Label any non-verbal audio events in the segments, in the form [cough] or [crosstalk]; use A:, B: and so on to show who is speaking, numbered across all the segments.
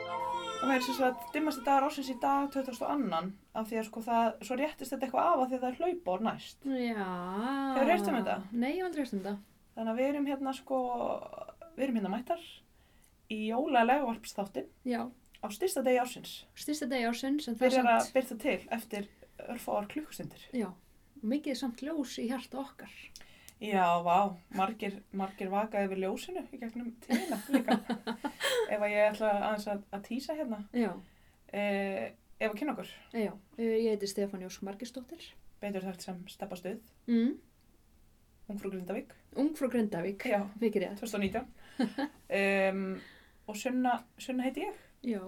A: það væri sem sagt dimmasti dagar ásins í dag 22. af því að sko það, svo réttist þetta eitthvað af af því að það er hlaupár næst.
B: Já.
A: Hefurðu heyrt um þetta?
B: Nei, ég hef aldrei heyrt um þetta.
A: Þannig að við erum hérna sko, við erum hérna mættar í jólalega varpsþáttin
B: Já.
A: á styrsta degi ásins.
B: Styrsta degi ársins en það er
A: Byrjar að
B: samt...
A: byrta til eftir örfáar klukkustundir.
B: Já. Mikið samt ljós í hjarta okkar.
A: Já, vá, margir, margir vakaði við ljósinu í gegnum tíðina [laughs] líka. ef að ég ætla aðeins að, að týsa hérna.
B: Já.
A: Eh, ef að kynna okkur,
B: Já. Eh, Ég heiti Stefán Jósk Margisdóttir.
A: betur þekkt sem Steppa Stuð,
B: Mm.
A: ungfrú Grindavík,
B: Ung frá Grindavík.
A: Já.
B: Mikið rétt.
A: 2019. um, og Sunna, Sunna heiti ég?
B: Já.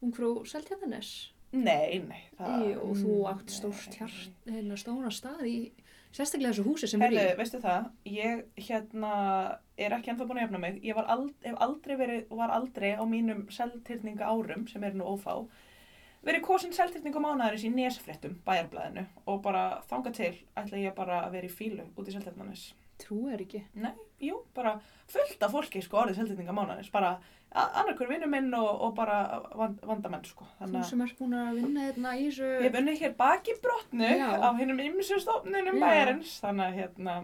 B: Ung frá Seltjarnanes.
A: Nei, nei.
B: Jú, þú
A: Ah,
B: átt
A: mm, nei.
B: stórt hjart, hérna stóna stað í, sérstaklega þessu húsi sem
A: Herðu,
B: er í.
A: veistu það, ég hérna er ekki ennþá búin að jafna mig. Ég var ald, hef aldrei verið, var aldrei á mínum seltirninga árum, sem er nú ófá, verið kosin seltirningum ánæðurins í nesfréttum bæjarblæðinu og bara þanga til ætla ég bara að vera í fílu út í seltirninganis.
B: Trú er ekki.
A: Jú, bara fullt af fólki sko orðið seltirningamánanins, bara annarkur vinnur minn og, og bara vand, vandamenn sko.
B: Þú
A: Þannig að
B: sem ert búin að vinna hérna í þessu...
A: ég hef unnið hér baki brotnu
B: Já.
A: á hinnum ymsustofnunum
B: Já.
A: bæjarins þannig að hérna,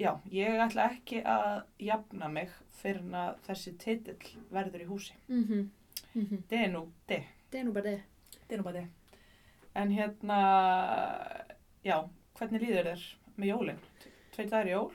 A: já, ég ætla ekki að jafna mig fyrir að þessi titill verður í húsi.
B: Mhm, mhm.
A: Þetta er nú, de.
B: Það er nú bara þið.
A: Þetta er nú bara de. En hérna, já, hvernig líður þér með jólinn? Tveit dagar í jól,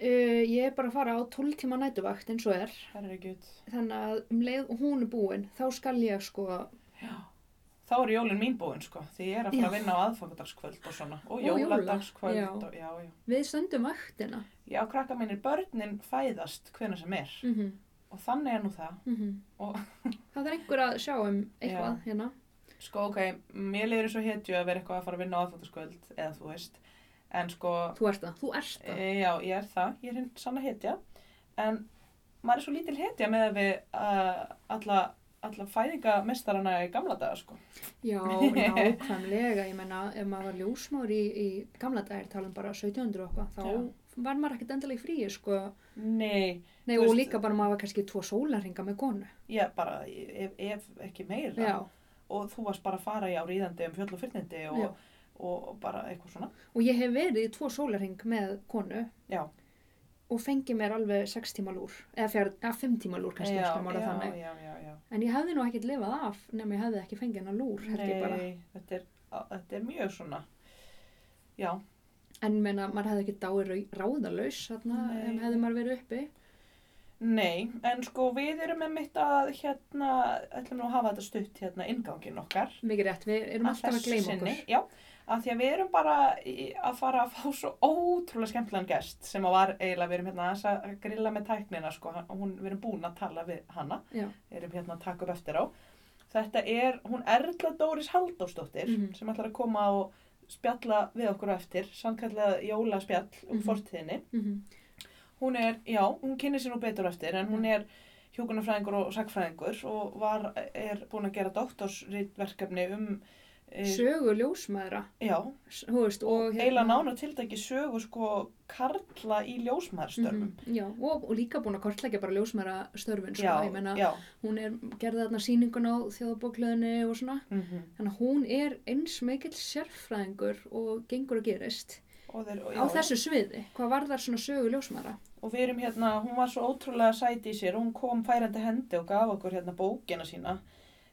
B: Uh, ég er bara að fara á 12 tíma nætuvakt eins og er.
A: það er ekki ut.
B: Þannig að um leið og hún er búin, þá skal ég sko...
A: Þá er jólinn mín búinn sko, því ég er að fara
B: Já.
A: að vinna á aðfangadagskvöld og svona. Og
B: Og jóla,
A: jóladagskvöld
B: já.
A: og já, já.
B: Við stöndum vaktina.
A: Já, krakka mínir, börnin fæðast hvenær sem er.
B: Mm -hmm.
A: Og þannig er nú það. Og-
B: [laughs] Það er einhver að sjá um eitthvað hérna.
A: Sko, ok, mér leiður svo hetju að vera eitthvað að fara að vinna á aðfangaskvöld, eða þú veist. En sko,
B: Þú ert það. Þú ert
A: e,
B: það.
A: já, ég er það, ég er hinn sann að hetja. En maður er svo lítil hetja með að við uh, alla, alla fæðingamestarana í gamla daga, sko. [laughs]
B: Já, nákvæmlega. Ég menna, ef maður var ljósmáður í, í gamla dagir, talum bara 1700 og eitthvað, þá var maður ekkert endalega fríi sko.
A: Nei,
B: Nei,
A: Þú
B: og
A: veist-
B: líka bara maður var kannski tvo sólarringa með konu.
A: ég bara, ef, ef ekki meira.
B: Já.
A: Og þú varst bara að fara í áriðandi um fjöll og fyrnindi
B: Já.
A: og, og, bara eitthvað svona.
B: Og ég hef verið í tvo sólarring með konu
A: Já,
B: og fengi mér alveg 6 tíma lúr eða, fjör, eða 5 tíma lúr kannski
A: já,
B: ekki mála
A: já,
B: þannig
A: já, já, já.
B: en ég hefði nú ekkert lifað af nema ég hefði ekki fengið hennar lúr held ég bara
A: Nei, þetta er, þetta er mjög svona, já,
B: en meina maður hefði ekki dáið rau- ráðalaus þarna
A: Nei.
B: ef hefði maður verið uppi
A: Nei, en sko við erum með mitt að hérna, ætlum nú að hafa þetta stutt hérna inngangin okkar.
B: mikið rétt, við erum alltaf að
A: þessu
B: gleyma
A: sinni,
B: okkur
A: Já, að því að við erum bara í- að fara að fá svo ótrúlega skemmtilegan gest sem að var eiginlega, við erum hérna aðeins að grilla með tæknina sko, hann- hún, við erum búin að tala við hanna,
B: Já.
A: erum hérna að taka upp eftir á. Þetta er, hún Erla Dóris Haldósdóttir
B: Mhm.
A: sem ætlar að koma og spjalla við okkur á eftir, sannkallað jólaspjall um
B: Mhm.
A: fortíðinni.
B: mm
A: Hún er, já, hún kynni sér nú betur á eftir
B: Mm.
A: en hún er hjókunarfræðingur og sagfræðingur og var, er búin að gera doktorsritverkefni um, e,
B: sögu hérna ljósmaðra
A: já,
B: s- þú veist, og
A: eila nána tildæki sögu sko karla í ljósmaðurstörfum.
B: Mhm, Já, og, og líka búin að kortleggja bara ljósmaðra störfin sko,
A: Já,
B: ég meina
A: já,
B: hún er gerði þarna sýningun á þjóðabóklöðinni og svona
A: mm
B: þannig að hún er eins mikill sérfræðingur og gengur og gerist
A: og, þeir, og,
B: á þessu sviði, hvað var þar svona sögu ljósmæra?
A: og við erum hérna, hún var svo ótrúlega sæti í sér, hún kom færandi hendi og gaf okkur hérna bókina sína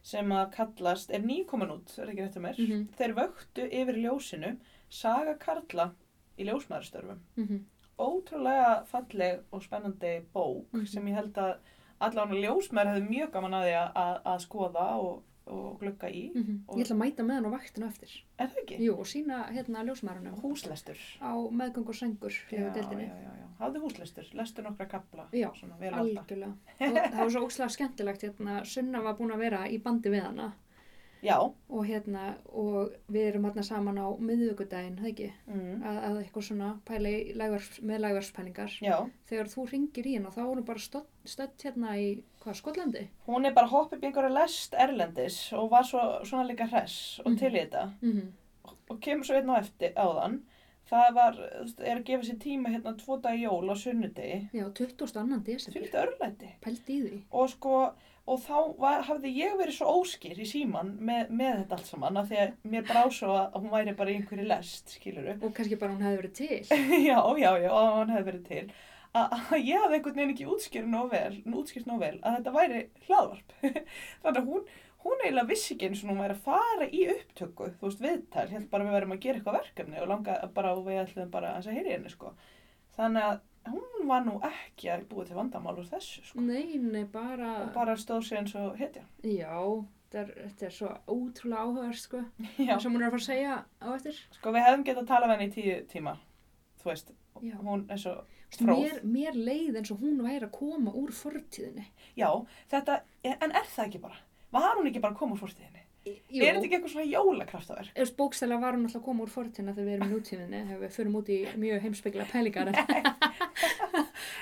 A: sem að kallast, er nýkomin út, er ekki rétt um mér,
B: Mhm.
A: þeir vöktu yfir ljósinu saga karla í ljósmaðurstörfum.
B: Mm -hmm.
A: ótrúlega falleg og spennandi bók
B: Mhm.
A: sem ég held að allan ljósmæður hefði mjög gaman að því að, að, að skoða og, og glugga í.
B: Ég ætla að mæta með hann á vaktinu eftir.
A: Er það ekki?
B: Jú, og sína hérna ljósmærunum
A: Húslestur.
B: á meðgöng og sengur
A: Já,
B: hefur deildinni.
A: já, já, já. Hafðu húslestur, lestu nokkra kapla.
B: Já,
A: svona, vel alltaf.
B: Algjörlega. Og það var svo óslega skemmtilegt hérna, Sunna var búin að vera í bandi við hana
A: Já,
B: og hérna, og við erum hérna saman á miðvíkudaginn, það ekki,
A: mm,
B: að, að eitthvað svona pæli í lægvarps, með lægvarspælingar.
A: já.
B: Þegar þú ringir í hana, þá erum bara stödd, stödd hérna í, hvað, Skotlandi?
A: Hún er bara hoppið byggur að lest erlendis og var svo, svona líka hress og
B: Mhm.
A: til í þetta
B: Mm
A: og kemur svo einn á eftir áðan. Það var, þú veist, er að gefa sér tíma hérna tvo dag jól á sunnudegi.
B: Já, 22. desember.
A: Fylgdi örlæti.
B: Pældi í því.
A: og sko og þá var, hafði ég verið svo óskýr í síman með, með þetta allt saman af því að mér brá svo að hún væri bara í einhverju lest, skiluru.
B: Og kannski bara hún hefði verið til.
A: [laughs] já, já, já, og hann hefði verið til. Að að ég hafði einhvern veginn ekki útskýrt nóg vel, útskýrt nóg vel að þetta væri hlaðvarp. [laughs] Þannig að hún, hún eiginlega vissi ekki eins og hún væri að fara í upptöku, þú veist, viðtal, held bara að við værum að gera eitthvað verkefni og langa bara og við ætlum bara aðeins að heyri henni, sko. Þannig að hún var nú ekki að búa til vandamál úr þessu, sko.
B: Nei, nei, bara,
A: Og bara stóð sér eins og hetja.
B: já, þetta er, þetta er svo ótrúlega áhugaður, sko,
A: Já.
B: sem hún er að fara að segja á eftir.
A: Sko við hefðum getað að tala við henni í tíu tíma, þú veist,
B: Já.
A: hún er svo
B: Veistu,
A: fróð.
B: Mér, mér leið eins og hún væri að koma úr fortíðinni.
A: Já, þetta, e, en er það ekki bara? Var hún ekki bara að koma úr fórstíðinni?
B: Jú,
A: Er þetta ekki eitthvað svona jólakraftaverk?
B: Ef bókstæla var hún alltaf að koma úr fortina þegar við erum í nútíðinni, ef við förum út í mjög heimspekilega
A: [laughs]
B: pælingar. en,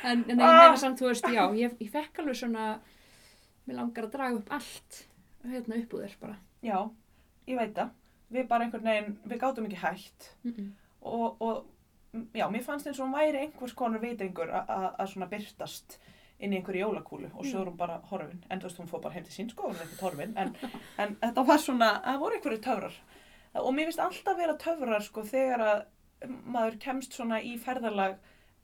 B: en en ég
A: Ah.
B: meina samt, þú veist, já, ég, ég fekk alveg svona, mér langar að draga upp allt, hérna upp úr þér bara.
A: Já, ég veit það. Við bara einhvern veginn, við gátum ekki hægt
B: Mm -mm.
A: og, og m- já, mér fannst eins og hún væri einhvers konar vitringur a- a- að svona byrtast inn í einhverju jólakúlu og svo er hún bara horfin. En þú veist, hún fór bara heim til sín sko, hún er ekkert horfin, en, [laughs] en þetta var svona, það voru einhverju töfrar. Og mér finnst alltaf vera töfrar sko þegar að maður kemst svona í ferðalag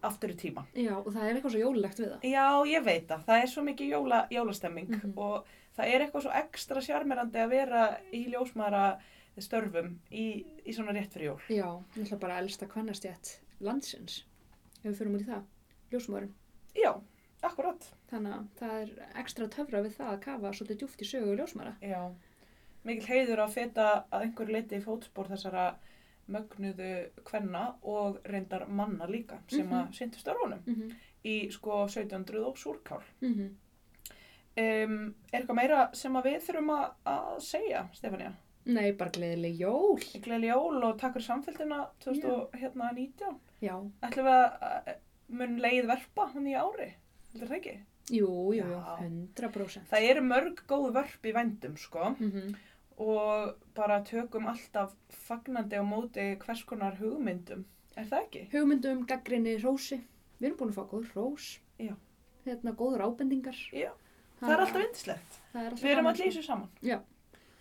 A: aftur í tíman.
B: Já, og það er eitthvað svo jólulegt við það.
A: Já, ég veit það. Það er svo mikið jóla, jólastemming
B: Mhm.
A: og það er eitthvað svo ekstra sjarmerandi að vera í ljósmaðra störfum í, í svona rétt fyrir jól.
B: Já, ég ætla bara að elsta kvennastjætt landsins, ef við förum út í það, ljósmóðurinn.
A: Já, akkurat.
B: Þannig að það er ekstra töfra við það að kafa svolítið djúft í sögu ljósmara.
A: Já. Mikil heiður að feta að einhverju leiti í fótspor þessara mögnuðu kvenna og reyndar manna líka sem mm -hmm. að syndu störfunum
B: Mm -hmm.
A: í sko 1700 og súrkál. Um, er eitthvað meira sem að við þurfum að, að segja, Stefania?
B: Nei, bara gleðileg jól.
A: Gleðli jól og takk fyrir samfélgina 2019.
B: Já,
A: Ætlum við að að- mun leið verpa hann í ári? Heldur það ekki?
B: jú, jú, jú,
A: Já.
B: 100%.
A: Það eru mörg góð vörp í vendum sko
B: Mm
A: og bara tökum alltaf fagnandi á móti hvers konar hugmyndum. Er það ekki?
B: Hugmyndum, gaggrinni, rósi. Við erum búin að fá góður rós.
A: Já.
B: Hérna góður ábendingar.
A: Já. Það er alltaf yndislegt.
B: Það er alltaf
A: Við erum
B: gaman,
A: allir í þessu saman.
B: Já.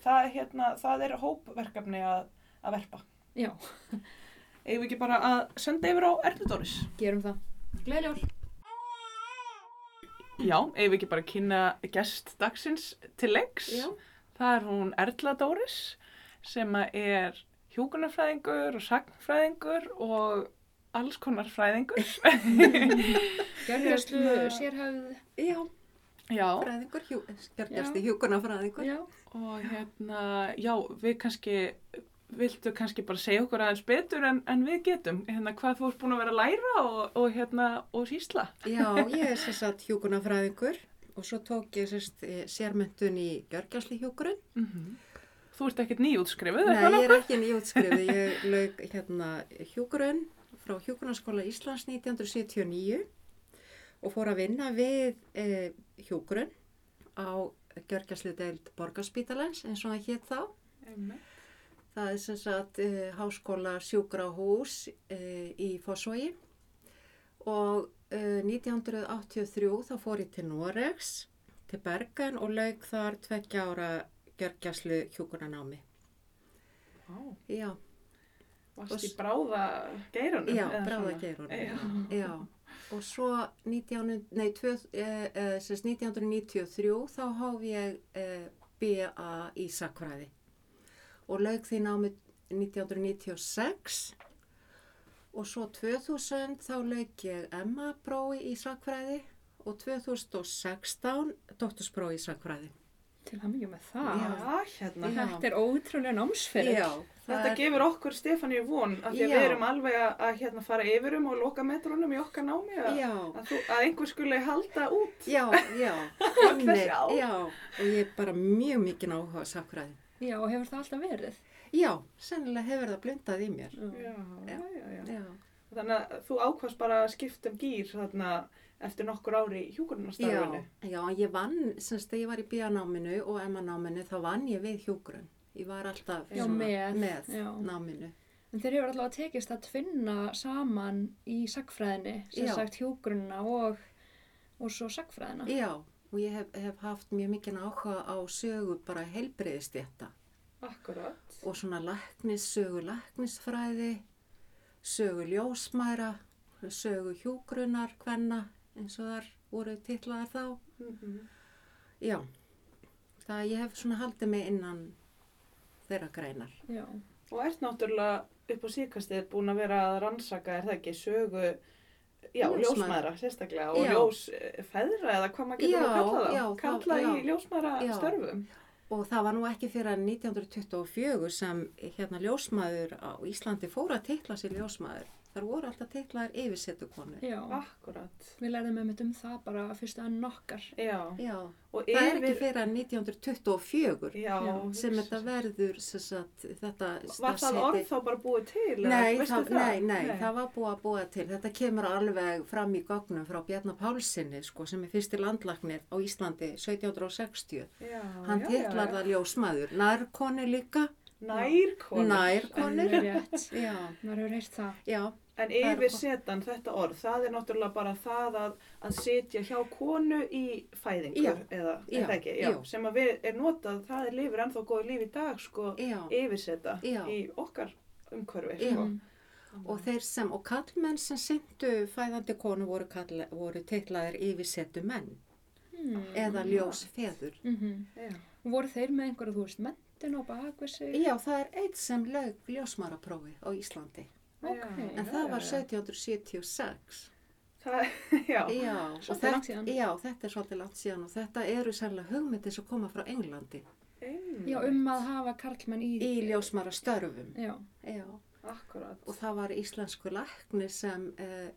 A: Það, er, hérna, það er hópverkefni að, að verpa.
B: sko. Já,
A: Eigum við ekki bara að senda yfir á Ernudóris?
B: gerum það. Gleðileg jól.
A: Já, eigum við ekki bara að kynna gest dagsins til lengs?
B: Já.
A: Það er hún Erla Dóris sem að er hjúkunarfræðingur og sagnfræðingur og alls konar fræðingur.
B: [laughs] Gjörgjastlu,
C: Hérna-
B: sérhæfð.
C: Já,
A: já,
C: fræðingur, hjú, skjörgjast í hjúkuna fræðingur.
B: Já.
A: og hérna, já, við kannski, viltu kannski bara segja okkur aðeins betur en, en við getum, hérna, hvað þú ert búin að vera að læra og, og hérna, og sýsla.
C: Já, ég er sér satt hjúkuna fræðingur og svo tók ég sérst sérmyndun í gjörgjastli hjúkurinn.
A: Þú ert ekkert nýjútskrifuð,
C: Mhm. Nei,
A: eitthvað
C: ég
A: nokkuð?
C: er ekki nýjútskrifið, ég laug hérna hjúkurinn frá hjúkunaskóla Íslands 1979 og fór að vinna við eh, hjúkurinn á gjörgjastli deild Borgarspítalans eins og það hétt þá.
A: Einmitt.
C: Það er sem sagt uh, háskóla sjúkrahús uh, í Fossvogi og uh, 1983 þá fór ég til Noregs, til Bergen og lauk þar tveggja ára gjörgjæslu hjúkunanámi.
A: Vá,
C: Já,
A: varst í bráða geirunum?
C: já
A: eða
C: bráða
A: svona?
C: geirunum.
A: Já.
C: Já, og svo 19, nei, tvö, eh, eh, sem sagt 1993 þá háf ég eh, BA í sakfræði og lauk því námi 1996 og svo 2000 þá lauk ég Emma brói í sakfræði og 2016 doktorsbrói í sakfræði.
B: Til hamingjum með það.
C: Já.
A: Já, hérna.
C: Já.
B: Þetta er ótrúlega námsferð.
C: það
A: Þetta
C: er-
A: gefur okkur Stefáníu von af því að
C: Já.
A: við erum alveg að, að hérna, fara yfir um og loka metrunum í okkar námi að,
C: Já,
A: að, þú, að einhver skulle halda út.
C: já, já,
A: [laughs] Öll þessi
C: einmitt,
A: ár.
C: já, og ég er bara mjög mikið áhuga á sakfræði.
B: Já, og hefur það alltaf verið.
C: Já, sennilega hefur það blundað í mér.
A: Já, já, já, já.
C: Já.
A: Þannig að þú ákvast bara að skipta um gýr þarna eftir nokkur ári í hjúkunarstarfinu.
C: Já, já, ég vann, semst þegar ég var í bíanáminu og emmanáminu, þá vann ég við hjúgrun. Ég var alltaf
B: Já,
C: svona
B: með,
C: með
B: já.
C: náminu.
B: En þeir hefur alltaf tekist að tvinna saman í sagfræðinni, sem
C: Já.
B: sagt hjúgrunna og, og svo sagfræðina.
C: Já, og ég hef, hef haft mjög mikinn áhuga á sögu bara heilbreyðistjætta
A: Akkurat.
C: og svona læknis, sögu læknisfræði, sögu ljósmæra, sögu hjúgrunar, hvenna eins og þar voru titlaðar þá.
A: Mhm.
C: Já, það ég hef svona haldið mig innan þeirra greinar.
B: Já.
A: Og ert náttúrulega upp á síkastið búin að vera að rannsaka, er það ekki, sögu, já,
C: Ljósmæðra.
A: ljósmaðra sérstaklega og
C: Já.
A: ljósfeðra eða hvað maður getur
C: Já,
A: að kalla það,
C: já, þá-
A: kalla í
C: já.
A: ljósmaðra
C: Já.
A: störfum.
C: Og það var nú ekki fyrir 1924 sem hérna ljósmaður á Íslandi fór að titla sér ljósmaður. Þar voru alltaf titlaðar yfirsettukonu.
B: Já.
A: Akkurat,
B: Við lærðum með mitt um það bara fyrstu að nokkar.
A: já.
C: Já,
A: Og
C: það er ekki
A: yfir-
C: fyrir 1924
A: já,
B: Já,
C: sem þetta verður, sem sagt, þetta
A: Var það
C: starfsheiti-
A: orð þá bara búið til? eða
C: Nei,
A: veistu
C: það, nei, nei,
A: Nei.
C: það var búið að búa til. Þetta kemur alveg fram í gögnum frá Bjarnar Pálssinni, sko, sem er fyrsti landlagnir á Íslandi 1760.
A: Já,
C: Hann
A: já,
C: titlar
A: já.
C: það ljósmaður, nærkoni líka,
A: Nærkonur.
C: nærkonur.
B: Alveg rétt.
C: Já,
B: Maður hefur heyrt það.
C: já,
A: En
C: er
A: yfir
C: gott.
A: setan þetta orð, það er náttúrulega bara það að, að setja hjá konu í fæðingu
C: Já,
A: eða
C: já,
A: er það ekki, já,
C: jú.
A: sem að við er notað, það er lifir ennþá góðu líf í dag sko,
C: já.
A: yfirseta
C: Já.
A: í okkar umhverfi
C: Já.
A: sko.
B: Mm.
C: Og þeir sem, og kallmenn sem syndu fæðandi konu voru, kall, voru titlaðir yfirsetu menn
B: Hmm.
C: eða ljósfeður.
B: Mm
A: Já.
B: Voru þeir með einhverja, þú veist, mentin á bakvið sig?
C: Já, það er eitt sem lög ljósmaraprófi á Íslandi.
B: Ok.
C: En
A: Já,
C: það
A: já,
C: var
A: já.
C: 1776.
A: Það, [laughs] já,
C: Já, og
B: Svolítið langt
C: þetta-
B: síðan.
C: já, þetta er svolítið langt síðan og þetta eru sannlega hugmyndir sem koma frá Englandi
A: einmitt,
B: Já, um að hafa karlmenn í...
C: í ljósmara störfum.
B: Já.
C: Já,
A: akkurat.
C: og það var íslensku lækni sem, eh,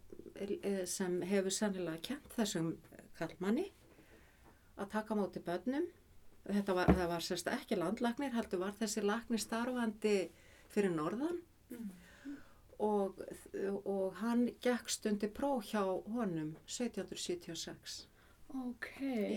C: eh, sem hefur sannlega kent þessum kallmanni að taka á móti börnum. Þetta var, það var sérst ekki landlæknir, heldur var þessi lækni starfandi fyrir norðan
A: Mm.
C: og, og hann gekk stundi próf hjá honum 1776.
B: Ok.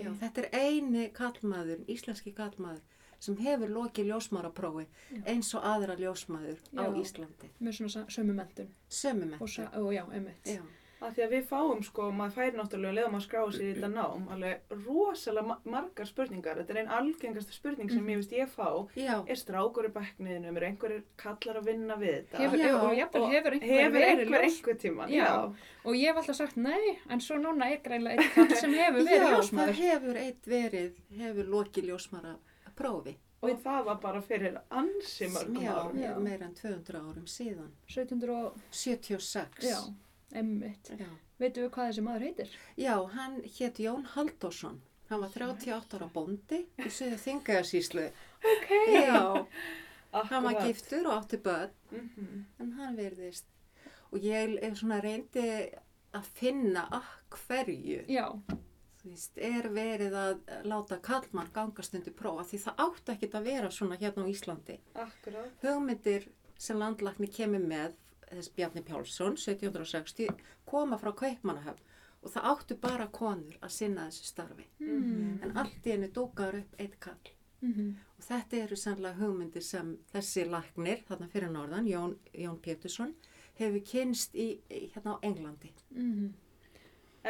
C: Já, þetta er eini kallmaður, íslenski kallmaður sem hefur lokið ljósmáraprófi
B: Já.
C: eins og aðra ljósmaður á
B: Já.
C: Íslandi.
B: Með svona sa- sömu mentun.
C: Sömmu
B: Og,
C: með
B: sa- og já, einmitt.
C: Já,
A: Af því að við fáum sko, maður fær náttúrulega leða maður skráði sér í þetta nám, alveg rosalega ma- margar spurningar. Þetta er einn algengasta spurning
C: Mhm.
A: sem ég veist ég fá.
C: já,
A: er strákur í bekkniðinum, er einhverjir kallar að vinna við þetta?
B: Hefur,
C: Já.
B: og jafnvel hefur einhver
A: Hefur
B: verið
A: einhver
B: ljós
A: einhver tíman?
B: Já. og ég hef alltaf sagt nei, en svo núna er greinlega einn kall sem hefur verið
C: [laughs] já það
B: ljósmaður
C: hefur eitt verið, hefur lokið ljósmáraprófi.
A: Og það var bara fyrir ansi mörgum
C: Já,
A: árum.
B: Já.
C: meira en 200 árum síðan.
B: 1700 og,
C: 76.
B: já, emmitt
C: Já,
B: veitum við hvað þessi maður heitir?
C: Já, hann hétt Jón Halldórsson. Hann var 38 ára bóndi í söðu þingasíslu.
B: ok,
C: Já,
A: Akkurat.
C: hann var giftur og átti börn.
A: Mhm.
C: en hann verðist og ég er svona reyndi að finna að hverju
B: já,
C: þú veist, er verið að láta kallmann gangast undir prófa því það átti ekkert að vera svona hérna á Íslandi
A: Akkurat.
C: hugmyndir sem landlakni kemur með þess Bjarni Pjálsson 1760 koma frá Kaupmannahöfn og það áttu bara konur að sinna þessu starfi
B: mm.
C: en allt í henni dúkar upp eitt kall
B: Mm.
C: Og þetta eru sannlega hugmyndir sem þessi læknir, þarna fyrir norðan, Jón, Jón Pétursson, hefur kynst í, í- hérna á Englandi.
B: Mm.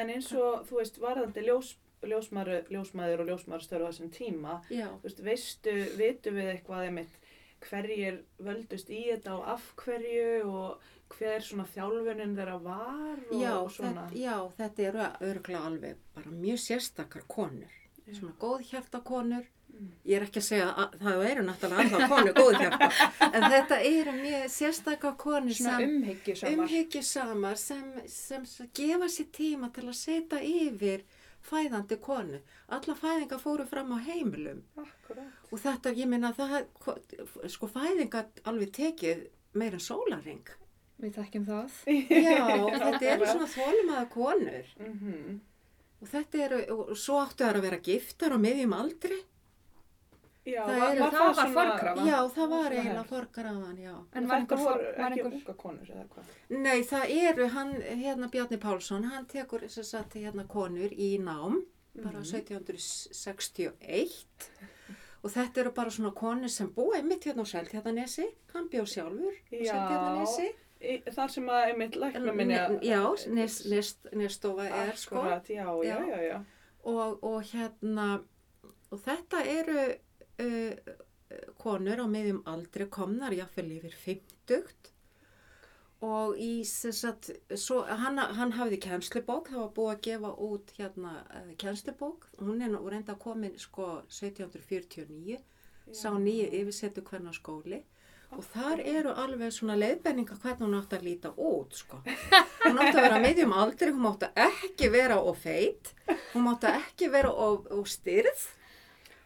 A: En eins og, þú veist, varðandi ljós, ljósmaru, ljósmaður og ljósmaðurstörfa þessum tíma,
C: Já.
A: þú veist, veistu, vitum við eitthvað einmitt hverjir völdust í þetta og af hverju og hver svona þjálfunin þeirra var og,
C: Já,
A: og svona.
C: þetta, já, þetta eru örgulega alveg bara mjög sérstakar konur,
A: Já.
C: svona góðhjarta konur.
A: Mm.
C: Ég er ekki að segja að það eru náttúrulega alltaf konur góðhjarta,
A: [laughs]
C: en þetta eru mjög sérstakar konur
B: svona
C: sem
B: umhyggju samar
C: umhyggjusamar sem, sem, sem gefa sér tíma til að setja yfir fæðandi konu. Alla fæðingar fóru fram á heimilum.
A: Akkurat.
C: Og þetta, ég meina, það, sko fæðing gat alveg tekið meira en
A: [laughs]
C: sólaring.
B: við þekkjum það
C: Já, þetta eru svona þólimaða konur.
A: Mm
C: Og þetta eru, og svo áttu þær að vera giftar á miðjum aldri.
A: Já,
C: Það
A: var,
C: eru-
A: var
B: það
A: það,
B: var
A: svona...
B: forkrafa.
C: Já, það var
B: Svona
C: eiginlega
B: hefð.
C: forgraðan, já.
B: en
A: Þetta
B: var einhver,
A: voru
B: var
A: ekki
B: einhver
A: unga konur eða hvað?
C: Nei, það eru, hann, hérna Bjarni Pálsson, hann tekur þess að hérna konur í nám,
A: Mm. Mhm.
C: bara 1761. Og þetta eru bara svona konur sem búa einmitt hérna á Seltjarnanesi, hann bjó sjálfur á
A: Já.
C: Seltjarnanesi.
A: Í- Þar sem að einmitt lækna minni
C: Já, nes- nes- nesstofa er sko
A: Akkurat, já, já,
C: Já.
A: já, já.
C: og, og hérna og þetta eru uh, konur á meðjum aldri komnar jáfnvel yfir 50 og í þess að svo, hann, hann hafði kennslubók það var búið að gefa út hérna uh, kennslubók, hún er nú reynda komin sko 1749 sá nýju yfirsetu hvernig skóli og þar eru alveg svona leiðbenninga hvernig hún átt að líta út sko. hún átt að vera meðjum aldri hún átt að ekki vera of feit hún átt að ekki vera of, of styrð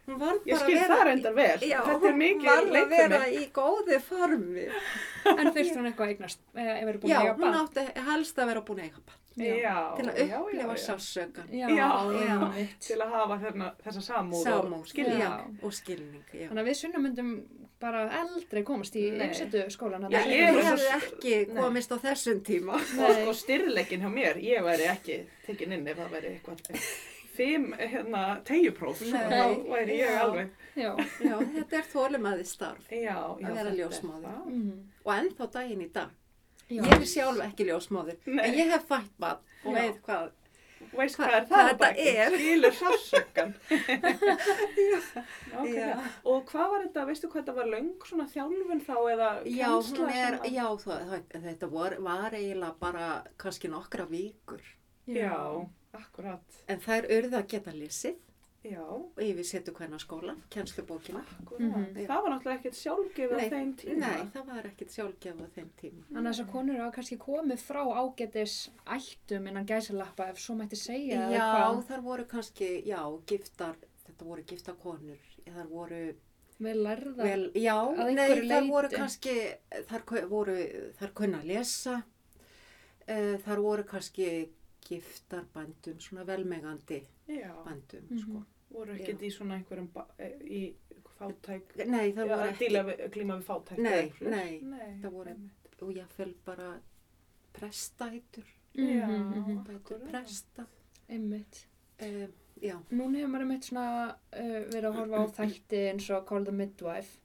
C: hún var bara
A: Ég skil
C: að vera
A: það reyndar vel.
C: Já,
A: Þetta er
C: hún
A: mikið
C: var að
A: leikfimi.
C: vera í góði formi
B: En þurfti hún eitthvað að eignast, eða ef verið búin
C: já,
B: að eiga
C: hún
B: bann?
C: átti helst að vera búin að eiga bann
A: Já, já,
C: til að
A: já,
C: upplifa
A: já.
C: sásökan
B: Já,
A: Já,
B: já.
C: já.
B: einmitt.
A: Til að hafa þarna, þessa samúð
C: samúð
A: og skilja.
C: já, og skilning já.
B: Þannig að við sunnum myndum bara aldrei komast í
A: Nei.
B: yfirsetu skólan.
A: Já, ég
C: Ég
A: er
C: hefði
A: svo-
C: ekki
A: Nei.
C: komist á þessum [laughs] tíma.
A: Og sko styrleikin hjá mér, ég væri ekki tekin inn ef það væri eitthvað fimm hérna, tegjupróf,
C: Nei.
A: þá væri ég
C: Já.
A: alveg,
B: Já,
C: Já, þetta er þólumæði starf
A: já, já,
C: vera
A: þetta er
C: ljósmóðir.
A: það.
B: Mhm.
C: og ennþá daginn í dag.
B: já.
C: Ég er sjálf ekki ljósmáður,
A: Nei.
C: en
A: [laughs]
C: ég hef fætt bann og
B: Já.
C: veit hvað.
A: Þú veist
C: Hva-
A: hvað er
C: hvað
A: það
C: þetta er.
A: skilur sásökan já.
C: [laughs] Já.
A: og hvað var þetta, veistu hvað þetta var löng svona þjálfun þá eða
C: Já,
A: kennsla
C: hún er,
A: sem að-
C: já það, það, þetta var, var eiginlega bara kannski nokkra vikur.
A: já, akkurat
C: En þær urðu að geta lesið
A: já,
C: og yfir setu hvernig skóla, kennslubókina.
A: akkurat
B: Mhm.
A: það var náttúrulega ekkert sjálfgefið á
C: Nei,
A: þeim tíma
C: Nei, það var ekkit sjálfgefið á þeim tíma.
B: Þannig að þessar konur hafa kannski komið frá ágetis ættum innan gæsalappa ef svo mætti segja eða
C: Já,
B: hvað
C: þar voru kannski, já, giftar, þetta voru giftar konur, þar voru
B: vel lærða.
C: Vel, já,
B: að
C: nei,
B: einhverju
C: þar voru
B: leyti.
C: kannski, þar ku- voru, þar kunna að lesa, uh, þar voru kannski giftar bændum, svona velmegandi
A: já,
C: bændum, sko.
B: Mhm.
A: voru ekkert í svona einhverjum ba- eh, í fátæk
C: sko. Nei, þar
A: Já,
C: voru
A: að
C: ekki,
A: díla við, glíma við fátæk
C: Nei,
A: eða eitthvað.
C: nei,
A: nei,
C: það voru-
A: einmitt.
C: og ég fel bara prestætur,
A: Já,
B: Mhm,
C: bætur
A: akkurat.
C: presta,
B: Einmitt.
C: uh, já,
B: Núna hefur maður einmitt svona uh, verið að horfa á þætti eins og Call the Midwife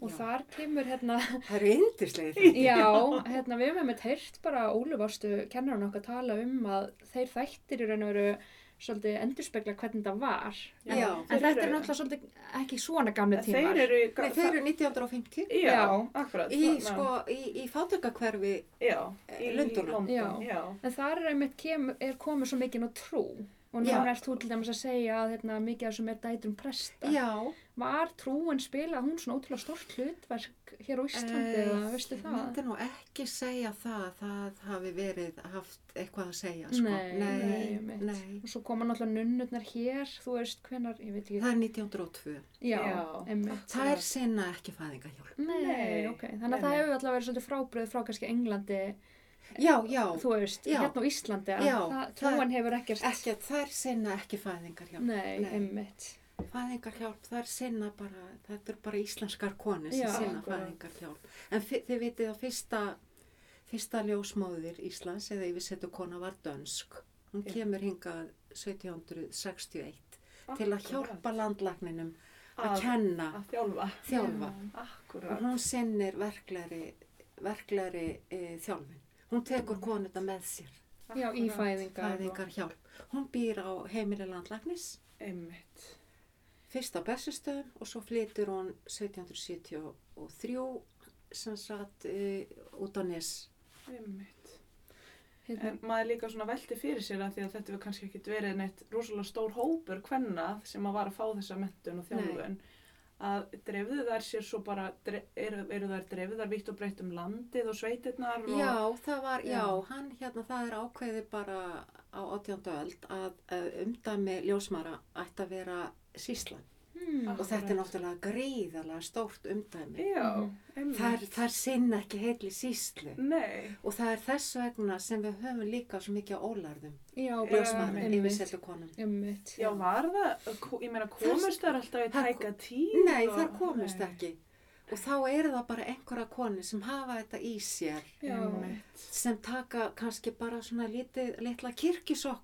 B: og
C: Já.
B: þar kemur hérna,
C: það eru yndislegið það.
B: [laughs] já, hérna við hefum einmitt heyrt bara ólufastu kennarinn okkar tala um að þeir þættir í raun og veru svolítið endurspegla hvernig það var.
C: Já.
B: En þetta er náttúrulega svolítið ekki svona gamle tímar.
A: þeir eru í-
C: Nei, þeir eru 1950
A: já,
B: Já.
A: akkurat
C: í,
A: þarna.
C: sko, í, í fátökakverfi,
A: já,
C: eh,
A: í
C: Lundúna.
A: London
B: Já.
A: já.
B: En þar er einmitt kem, er komið svo mikið á trú og
C: Já.
B: núna ert þú til dæmis að segja að hérna, mikið af þessum er dætrum presta.
C: já,
B: Var trúin spilað hún svona ótrúlega stórt hlutverk hér á Íslandi
C: Eh,
B: eða veistu
C: Ég
B: það?
C: myndi nú ekki segja það að það hafi verið haft eitthvað að segja, sko.
B: Nei, nei,
C: nei.
B: einmitt. Og svo koma náttúrulega nunnurnar hér, þú veist hvenar, ég veit
C: Það
B: ekki.
C: er 1902.
B: Já,
A: Já.
B: einmitt.
C: Það er sinna ekki fæðingahjálp.
B: Nei,
A: Nei,
B: ok. Þannig að
A: nei,
B: það
A: nei.
B: hefur alltaf verið svolítið frábröð frá kannski Englandi,
C: Já, já,
B: þú veist,
C: Já.
B: hérna á Íslandi. að
C: Já,
B: Það,
C: það-
B: trúin hefur ekkert.
C: ekki, það er sinna ekki fæðingarhjálp.
B: Nei,
C: Nei.
B: einmitt.
C: Fæðingarhjálp, það er sinna bara, þetta er bara íslenskar konur
B: Já,
C: sem sinna
A: akkurat.
C: fæðingarhjálp. En fi- þið vitið að fyrsta, fyrsta ljósmóðir Íslands eða yfirsettu kona var dönsk. Hún
A: Já.
C: kemur hingað 1761 til að
A: Akkurat.
C: hjálpa landlagninum að
A: að,
C: kenna,
A: að þjálfa
C: þjálfa. og
A: akkurat
C: hún sinnir verklari, verklari e, þjálfin. Hún tekur konuna með sér,
B: Já, í
A: Akkurat.
B: fæðingar.
C: fæðingar hjálp. Hún býr á heimili landlagnis,
A: einmitt
C: fyrst á Bessastöðum og svo flytur hún 1773 sem sagt e, út á Nes.
A: einmitt
B: Hérna,
A: en maður líka svona velti fyrir sér að því að þetta var kannski ekki verið neitt rosalega stór hópur kvenna sem að var að fá þessa mentun og þjálfun að drefðu þær sér svo bara dre- eru, eru þær drefðu þær vitt og breytt um landið og sveitirnar og
C: Já, það var, já,
A: Já.
C: hann hérna, það er ákveði bara á 18. öld að, að umdæmi ljósmara ætti að vera síslan.
B: Hmm.
C: Og þetta er
A: Akkurat.
C: náttúrulega gríðalega stórt umdæmi.
A: já
B: Mhm.
A: einmitt
C: Þar, þar sinna ekki heitli síslu.
A: nei
C: Og það er þess vegna sem við höfum líka svo mikið á ólarðum,
B: Já, bara
C: ljósmaður,
A: Ljósmæðrum,
B: einmitt.
C: yfirsettu konum.
B: Einmitt.
A: Já, var það, ko- ég meina, komust þær alltaf í
C: þar
A: tæka tíð?
C: Nei,
A: og-
C: þar komust
A: Nei.
C: ekki. Og þá eru það bara einhverja konur sem hafa þetta í sér,
B: Já.
A: Einmitt,
C: sem taka kannski bara svona lítið, litla kirkisokk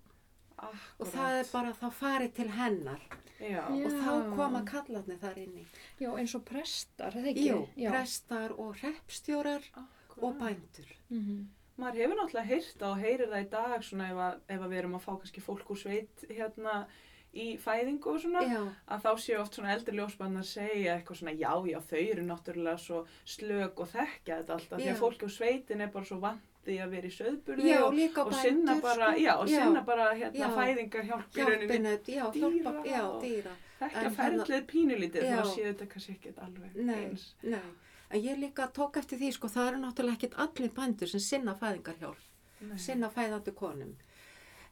A: akkurat.
C: og það er bara þá farið til hennar
A: Já,
B: Já.
C: og þá koma kallarni þar inni.
B: Já, eins og prestar, er það ekki?
C: Jú,
B: Já.
C: prestar og hreppstjórar
A: akkurat.
C: og bændur.
B: Mhm.
A: Maður hefur náttúrulega heyrt það og heyrir það í dag svona ef, að, ef að við erum að fá kannski fólk úr sveit hérna í fæðingu og svona
C: já,
A: að þá séu oft svona eldri ljósbann að segja eitthvað svona já, já, þau eru náttúrulega svo slög og þekkja þetta alltaf því
C: Já.
A: að fólk á sveitin er bara svo vant því að vera í söðburði
C: já,
A: og,
C: líka
A: og
C: bændur,
A: sinna bara,
C: sko.
A: já, og sinna bara
C: Já.
A: hérna fæðingarhjálp í rauninni,
C: hjálpinu, já, hjálpa,
A: dýra
C: já,
A: og-
C: dýra.
A: þekkja
C: en þarna-
A: ferlið pínulítið,
C: Já.
A: þá séu þetta kannski ekkert alveg
C: Nei.
A: eins.
C: Nei, en ég líka tók eftir því, sko, það eru náttúrulega ekkit allir bændur sem sinna fæðingarhjálp,
A: Nei.
C: sinna fæðandi konum.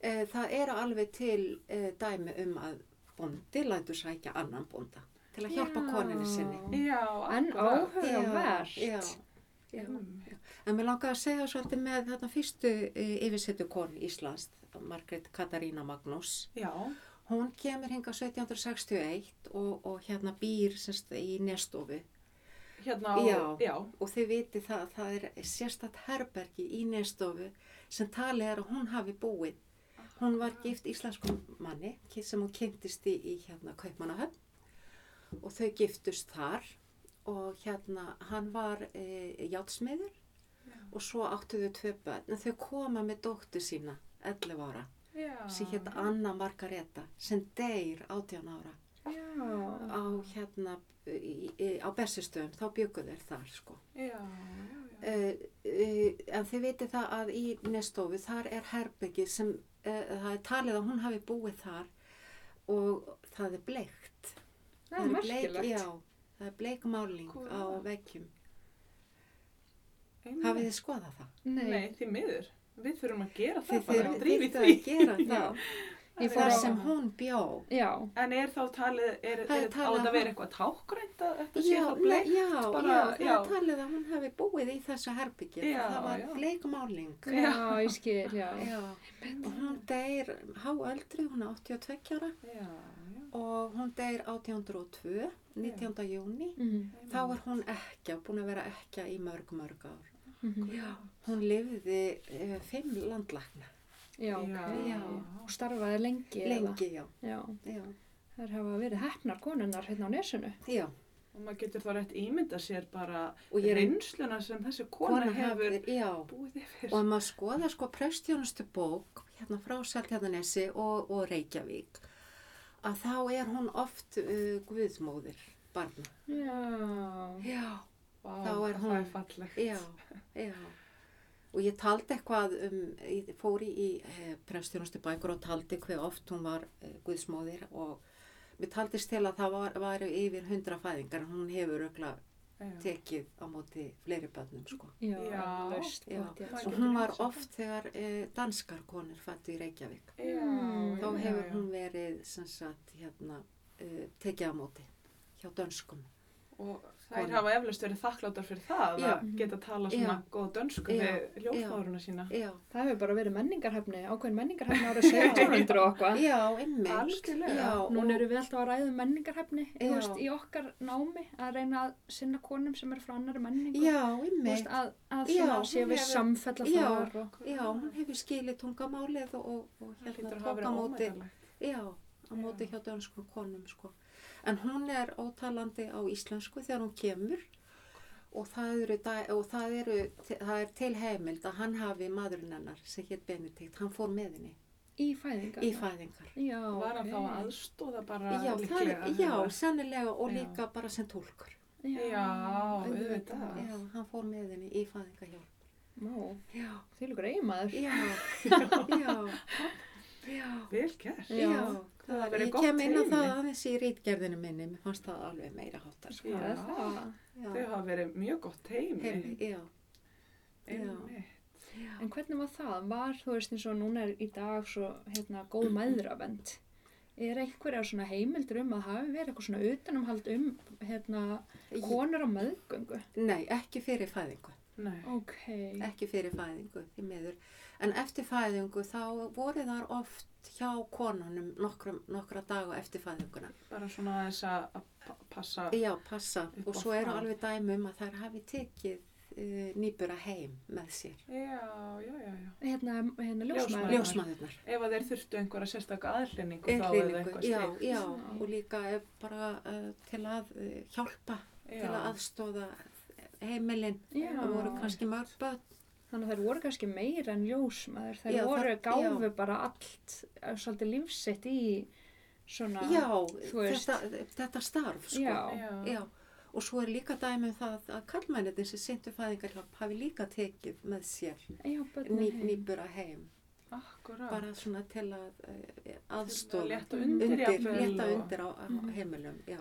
C: E, það eru alveg til e, dæmi um að bondi lætur sækja annan bonda til að hjálpa
B: Já.
C: koninu sinni.
A: Já,
B: En
A: akkurat. Mm,
B: áhugavert.
C: Já, já. En mér langaði að segja svolítið með þarna fyrstu e, yfirsettu kon Íslands, Margrét Katarína Magnús.
A: Já,
C: Hún kemur hinga 1761 og, og hérna býr semst í nestofu
A: hérna á,
C: Já.
A: já,
C: og þið viti það, það er sérstætt herbergi í nestofu sem talið er að hún hafi búið. Hún var gift íslenskum manni ki- sem hún kynntist í, í hérna Kaupmannahöfn og þau giftust þar og hérna hann var e, játsmiður og svo áttu þau tvö börn en þau koma með dóttu sína 11 ára
A: já.
C: sem hétt Anna Margareta sem deyr 18 ára
B: Já.
C: á hérna í, í, á Bessistöðum, þá byggu þeir þar sko.
A: Já, já, já.
C: Uh, uh, en þið vitið það að í nestofu þar er herbyggið sem uh, það er talið að hún hafi búið þar og það er bleikt.
B: Það er
C: bleik,
B: merkilegt.
C: já, það er bleik máling
A: Hvað?
C: á veggjum.
A: Einmitt.
C: Hafið þið skoðað það?
A: Nei, því miður. Við þurfum að gera það
C: Þið
A: bara
C: þurfið-
A: og drífi
C: þið
A: því. [laughs]
C: þurfið að gera
B: Já.
C: það.
B: Ég fór
C: Þar
B: á-
C: sem hún bjó.
B: Já.
A: En er þá talið, er,
C: Það er
A: er, á
C: talað
A: þetta að
C: að-
A: vera eitthvað tákgrænt að þetta sé
C: Já,
A: það
C: nei,
A: bleið?
C: já,
A: bara-
C: já, það
A: já.
C: er talið að hún hafi búið í þessu herbyggið.
A: Já,
C: það var
A: já.
C: bleik máling.
B: Já, ég skil, já.
C: Já, og hún deyr háöldri, hún er 82 ára
A: Já, já.
C: og hún deyr 1802, 19. júni.
B: Mm.
C: Þá er hún ekki, búin að vera ekki í mörg, mörg ár.
B: Mhm.
C: Já. Hún lifði uh, fimm landlækna,
B: Já, ok.
A: Já.
B: Og starfaði lengi. eða?
C: lengi, já.
B: Já.
C: Já,
B: Þær hafa verið hefnar konunnar hérna á nesunu.
C: já.
A: Og maður getur þá rétt ímynda sér bara
C: og ég er
A: reynsluna sem þessi kona, hefur
C: já.
A: búið yfir.
C: Og ef maður skoða sko prestjónustu bók hérna frá Seltjarnanesi og, og Reykjavík að þá er hún oft uh, guðmóðir barna.
B: Já.
C: Já.
A: Vá,
C: þá er
A: Það
C: hún-
A: er fallegt.
C: Já, já. Og ég taldi eitthvað, um, ég fór í, í eh, prestjónustu bækur og taldi hver oft hún var eh, guðsmóðir og mér taldist til að það var, var yfir hundra fæðingar en hún hefur ögla
A: Já.
C: tekið á móti fleiri börnum sko.
B: Já.
A: Já.
B: Laust,
C: Já.
B: pottétt.
A: Maður
C: Og
A: getur
C: hún var
A: hugsað
C: oft þegar eh, danskar konur fættu í Reykjavík.
A: Já,
B: Mm.
C: Þá
A: já,
C: hefur
A: já.
C: hún verið sem sagt hérna eh, tekið á móti hjá dönskum.
A: Og þær
C: Konu.
A: hafa eflaust verið þakkláttar fyrir það
C: Já.
A: að geta tala svona
C: Já.
A: góða dönsku
C: Já.
A: við ljósmáruna sína.
C: Já,
B: Það hefur bara verið menningarhefni, ákveðin menningarhefni árið 1700 og eitthvað.
C: já, einmitt.
A: Algjörlega.
C: Já, og-
B: Núna erum við alltaf að ræða um menningarhefni þú
C: Já.
B: veist, í okkar námi að reyna að sinna konum sem eru frá annari menningu
C: Já,
B: Þú veist,
C: einmitt.
B: að, að
C: Já,
B: svona
C: hún
B: séu við
C: hefur-
B: samfella
C: Já.
B: þar og,
C: Já, hún hefur skilið tungamálið og, og, og
A: Það
C: hérna
A: hlýtur að hafa
C: tók á
A: verið
C: móti,
A: ómæðalegt.
C: já, á móti
A: Já.
C: hjá dönskum konum sko. En hún er ótalandi á íslensku þegar hún kemur og það, eru, dæ- og það, eru, það er til heimild að hann hafi maðurinn hennar sem hétt Benedikt, hann fór með henni
B: í fæðingar
C: í fæðingar.
B: Já,
A: Var hann
B: ok.
A: þá að aðstóða bara
C: Já, það,
A: líklega?
C: já,
A: eða?
C: sennilega og
A: Já.
C: líka bara sem tólkur.
A: Já, auðvitað.
B: auðvitað.
C: Já, hann fór með henni í fæðingahjálp.
B: Má,
C: Já,
B: því líkur eiginmaður
A: [laughs]
C: já, já, já.
A: Vel gert.
B: Já.
C: Já,
A: Það
C: það
A: verið
C: ég
A: gott
C: kem inn á
A: teymi.
C: það aðeins í rítgerðinu minni, mér fannst það alveg meira háttar. Sko.
A: Já.
B: Það er það.
C: Já,
A: Þau hafa verið mjög gott teimi.
C: heimi, já.
A: Einmitt.
B: En hvernig var það? Var, þú veist, eins og núna er í dag svo, hérna, góð mæðravend. Er einhverjar svona heimildur um að hafi verið eitthvað svona utanumhald um, hérna, konur á meðgöngu?
C: Nei, ekki fyrir fæðingu,
A: Nei.
B: Ok.
C: ekki fyrir fæðingu, því miður. En eftir fæðingu þá voru þar oft hjá konunum nokkrum, nokkra daga eftir fæðinguna.
A: Bara svona þess að að pa- passa.
C: Já, passa.
A: Upp á
C: Og svo eru
A: það.
C: alveg dæmi um að þær hafi tekið uh, nýbura heim með sér.
A: Já, já, já, já.
B: Hérna, hérna, ljósmaður.
A: Ljósmæðurnar.
C: Ljósmaðurnar.
A: Ef að þeir þurftu einhverja sérstaka aðhlynningu þá er það
C: Einhlýningu,
A: eitthvað
C: já,
A: styrkt.
C: já,
B: Já.
C: og líka eh, bara uh, til að uh, hjálpa til að aðstóða heimilinn
B: Já.
C: það voru kannski mörg börn
B: Þannig að þær voru kannski meira en ljósmaður. Þær
C: Já,
B: voru
C: þær-
B: gáfu bara allt, eh, svolítið lífsitt í svona
C: Já,
B: þú veist.
C: þetta, þetta starf sko.
B: Já.
C: Já, og svo er líka dæmi um það að kallmennir sem sindu fæðingarhjálp hafi líka tekið með sér
B: já, börnin
C: ný,
B: heim.
C: nýbura heim,
A: Akkurat.
C: bara svona til að eh,
A: Til að
C: aðstofa,
A: létta undir
C: undir,
A: jafnvel
C: létta
A: og-
C: undir á, á
B: Mhm.
C: heimilum, já.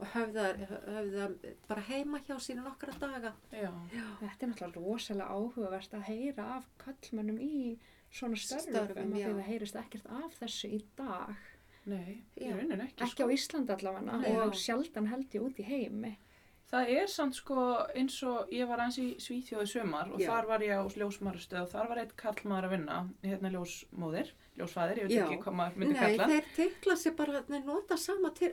C: Og höfða, höfða bara heima hjá sínu nokkra daga.
A: Já.
B: Þetta er náttúrulega rosalega áhugavert að heyra af kallmönnum í svona störfum,
C: Störfum,
B: störfum
C: já.
B: að það heyrist ekkert af þessu í dag.
A: Nei, í
C: Já.
A: rauninni ekki, sko.
B: Ekki
C: sko.
B: á Íslandi allavega
C: Nei.
B: og sjaldan held ég út í heimi.
A: Það er samt sko eins og ég var aðeins í Svíþjóði sumar og
C: Já.
A: þar var ég á ljósmarustöð og þar var eitt kallmaður að vinna, hérna ljósmóðir, ljósfæðir, ég veit
C: Já.
A: ekki hvað maður myndi
C: Nei,
A: kalla.
C: þeir titla sér bara, þeir nota sama
A: Já,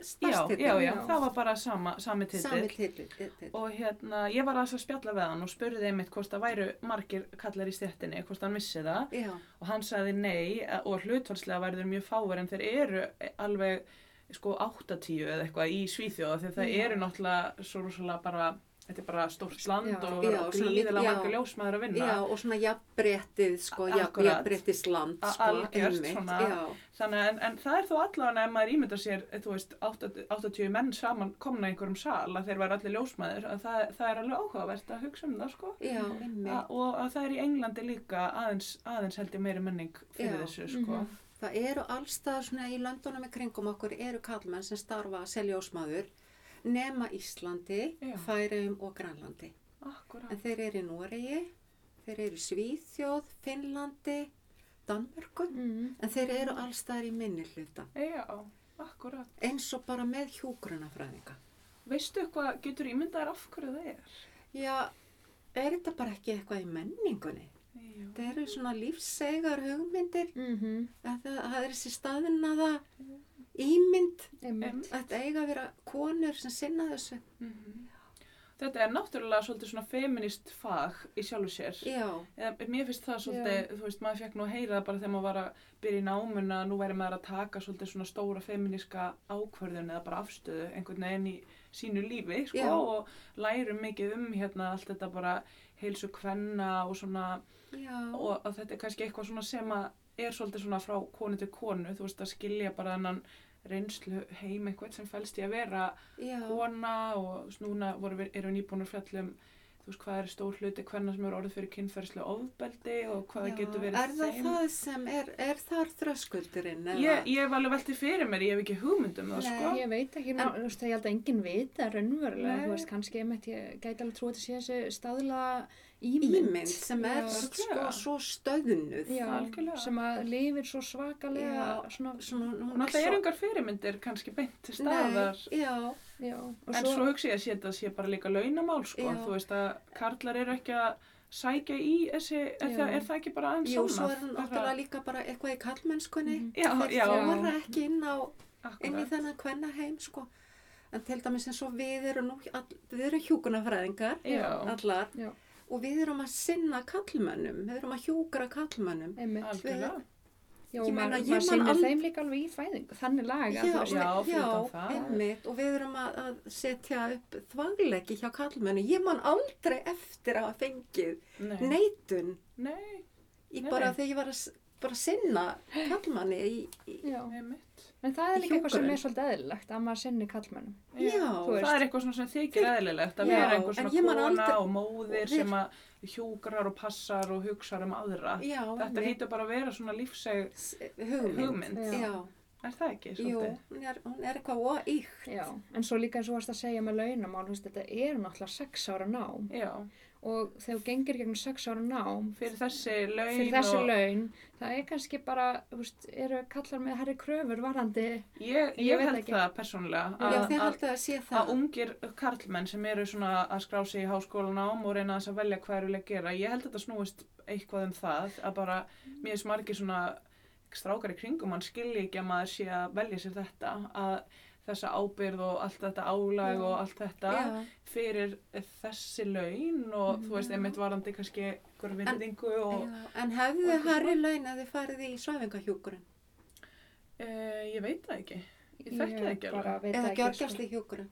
A: já,
C: starfstitil.
A: já,
B: Já.
A: það var bara sama, sami
C: Sami
A: titill
C: titill.
A: og hérna, ég var aðeins að spjalla við hann og spurði einmitt hvort það væru margir kallar í stéttinni, hvort hann vissi það
C: Já,
A: og hann sagði nei eh, og hlutvarslega væri þeir mjög fáir en þeir eru eh, alveg sko 80 eða eitthvað í Svíþjóða því að það
B: Já.
A: eru náttúrulega svo rosalega bara, þetta er bara stórt land
B: Já.
A: og
C: Já, svona mikið-
A: gríðilega
C: já.
A: margur ljósmaður að vinna
C: já, og svona jafnbrettið, sko, jafn-
A: Akkurat.
C: jafnbrettisland,
A: A-
C: sko,
A: algjört
C: einmitt,
A: svona-
C: Já,
A: þannig að- en, en það er þó allavega ef maður ímyndar sér, eh, þú veist, 80 80 menn saman komna í einhverjum sal að þeir væri allir ljósmaður að það, það er alveg áhugavert að hugsa um það sko
C: já, einmitt.
A: A, og að það er í Englandi líka aðeins, aðeins held ég meiri menning fyrir
C: Já.
A: þessu sko.
B: Mhm.
C: Það eru allstað svona í löndunum í kringum okkur eru kallmenn sem starfa að selja ósmáður nema Íslandi,
A: Já.
C: Færiðum og Grænlandi. En
A: Akkurat.
C: þeir eru í Noregi, þeir eru í Svíþjóð, Finnlandi, Danmörku.
B: Mm.
C: En þeir eru allstaðar í minni hluta.
A: Já, akkurat.
C: Eins og bara með hjúgrunafræðinga.
A: Veistu hvað getur ímyndaðir af hverju það er?
C: Já, er þetta bara ekki eitthvað í menningunni?
A: Já.
C: Þetta eru svona lífssegar hugmyndir.
B: Mm
C: að Það, það er þessi staðinnaða ímynd.
B: -hmm.
C: Þetta eiga að vera konur sem sinna þessu.
A: mhm. Þetta er náttúrulega svolítið svona feminist fag í sjálfu sér.
C: Já.
A: Eða, mér finnst það svolítið, þú veist, maður fekk nú að heyra það bara þegar maður var að byrja í námuna, nú væri maður að taka svolítið svona stóra feminiska ákvörðun eða bara afstöðu einhvern veginn í sínu lífi, sko,
C: Já.
A: og lærum mikið um hérna allt þetta bara heilsu kvenna og svona
C: Já,
A: og að þetta er kannski eitthvað svona sem að er svolítið svona frá konu til konu þú veist að skilja bara þennan reynslu heim eitthvað sem fælst í að vera
C: já,
A: kona og þú veist, núna voru við, erum við nýbúin að fjalla um þú veist hvað er stór hluti hverna sem eru orðið fyrir kynferðslu ofbeldi og hvað
C: já.
A: getur verið
C: er það það sem er, er þar þröskuldurinn? eða?
A: Ég, ég hef alveg veltið fyrir mér, ég hef ekki hugmyndum það
C: Nei.
A: sko
B: Ég veit ekki, ná, þú veist, ég held að enginn veit það raunverulega,
A: Nei.
B: þú veist, kannski einmitt, ég gæti alveg trúið að sé þessi staðla ímynd.
C: Ímynd sem er
B: Já.
C: sko
A: Örugglega.
C: svo stöðnuð.
B: Já,
A: Algjörlega.
B: sem að lifir svo svakalega, svona,
C: Svona, hún
A: og náttúrulega eru
C: svo-
A: engar fyrirmyndir kannski beint til staðar
C: Nei, já,
B: já, og
A: En svo hugsi ég að setja sé bara líka launamál sko,
C: Já.
A: þú veist að karlar eru ekki að sækja í þessi, er,
B: Já.
A: það, er það ekki bara aðeins
C: jú,
A: sannað?
C: svo er hún
A: Bara-
C: náttúrulega líka bara eitthvað í kallmennskunni.
B: Mhm.
A: Já,
C: Þeir
A: já,
C: þóra ekki inn, á, inn í
A: akkurat,
C: þennan kvennaheim, sko. En til dæmis eins og við erum, nú, all, við erum hjúkunafræðingar,
A: já,
C: allar,
B: Já.
C: og við erum að sinna kallmennum, við erum að hjúkra kallmennum.
B: einmitt,
A: algjörlega,
B: já,
C: ég meina,
B: maður
C: ég
B: maður
C: man
B: sinnir
C: ald-
B: þeim líka alveg í fæðingu, þannig laga, þú veist,
A: já,
C: já,
A: fyrir utan
C: já
A: það.
C: einmitt og við erum að, að setja upp þvagleiki hjá kallmennu. Ég man aldrei eftir að hafa fengið
A: nei, nei,
C: neitun
A: nei,
C: í
A: Nei,
C: bara
A: nei.
C: þegar ég var að s- bara að sinna kallmanni í, í
B: já,
A: mitt,
B: en það
C: Í
B: er líka eitthvað sem
C: hjúkrun.
B: er svolítið eðlilegt, að maður sinni kallmennum,
C: Já,
B: þú veist.
A: það er eitthvað svona sem þykir eðlilegt að
C: Já,
A: vera einhver
C: en
A: svona
C: ég man
A: kona
C: aldrei-
A: og móðir
C: og-
A: sem að hjúgrar og passar og hugsar um aðra,
C: já,
A: þetta hýtur bara að vera svona lífseg
C: s- hugmynd.
A: hugmynd,
B: Já.
C: Já,
A: er það ekki,
C: jú,
A: svolítið?
C: hún er, hún er eitthvað óík.
B: já, en svo líka eins og þú varst að segja með launamál, þú veist, þetta er náttúrulega sex ára nám
A: Já,
B: og þegar þú gengir gegnum sex ára nám,
A: fyrir þessi laun
B: fyrir þessi
A: og...
B: laun, það er kannski bara, þú veist, eru kallar með herri kröfur varandi,
A: Ég,
B: Ég
A: ég
B: veit
A: held
B: ekki.
A: það persónulega
C: Já,
A: að- að-
C: þið haldið að sé
A: að
C: það.
A: ungir karlmenn sem eru svona að skrá sig í háskólanám og reyna þess að velja hvað eru að gera ég held að þetta snúist eitthvað um það að bara
C: Mm.
A: mér er smargi svona strákar í kringum hann skilji ekki að maður sé að velja sér þetta að þessa ábyrð og allt þetta álag
B: Já.
A: og allt þetta
C: Já, Mm.
A: fyrir þessi laun og þú veist, einmitt varandi kannski einhver virðingu og
C: já, en hefðu
A: og-
C: Harry laun að þið farið í svæfingahjúkurinn
A: uh, ég veit það ekki Ég þekki það ekki alveg.
B: bara veit
C: eða
B: ekki, sko.
C: gjörgjastli hjúkurinn?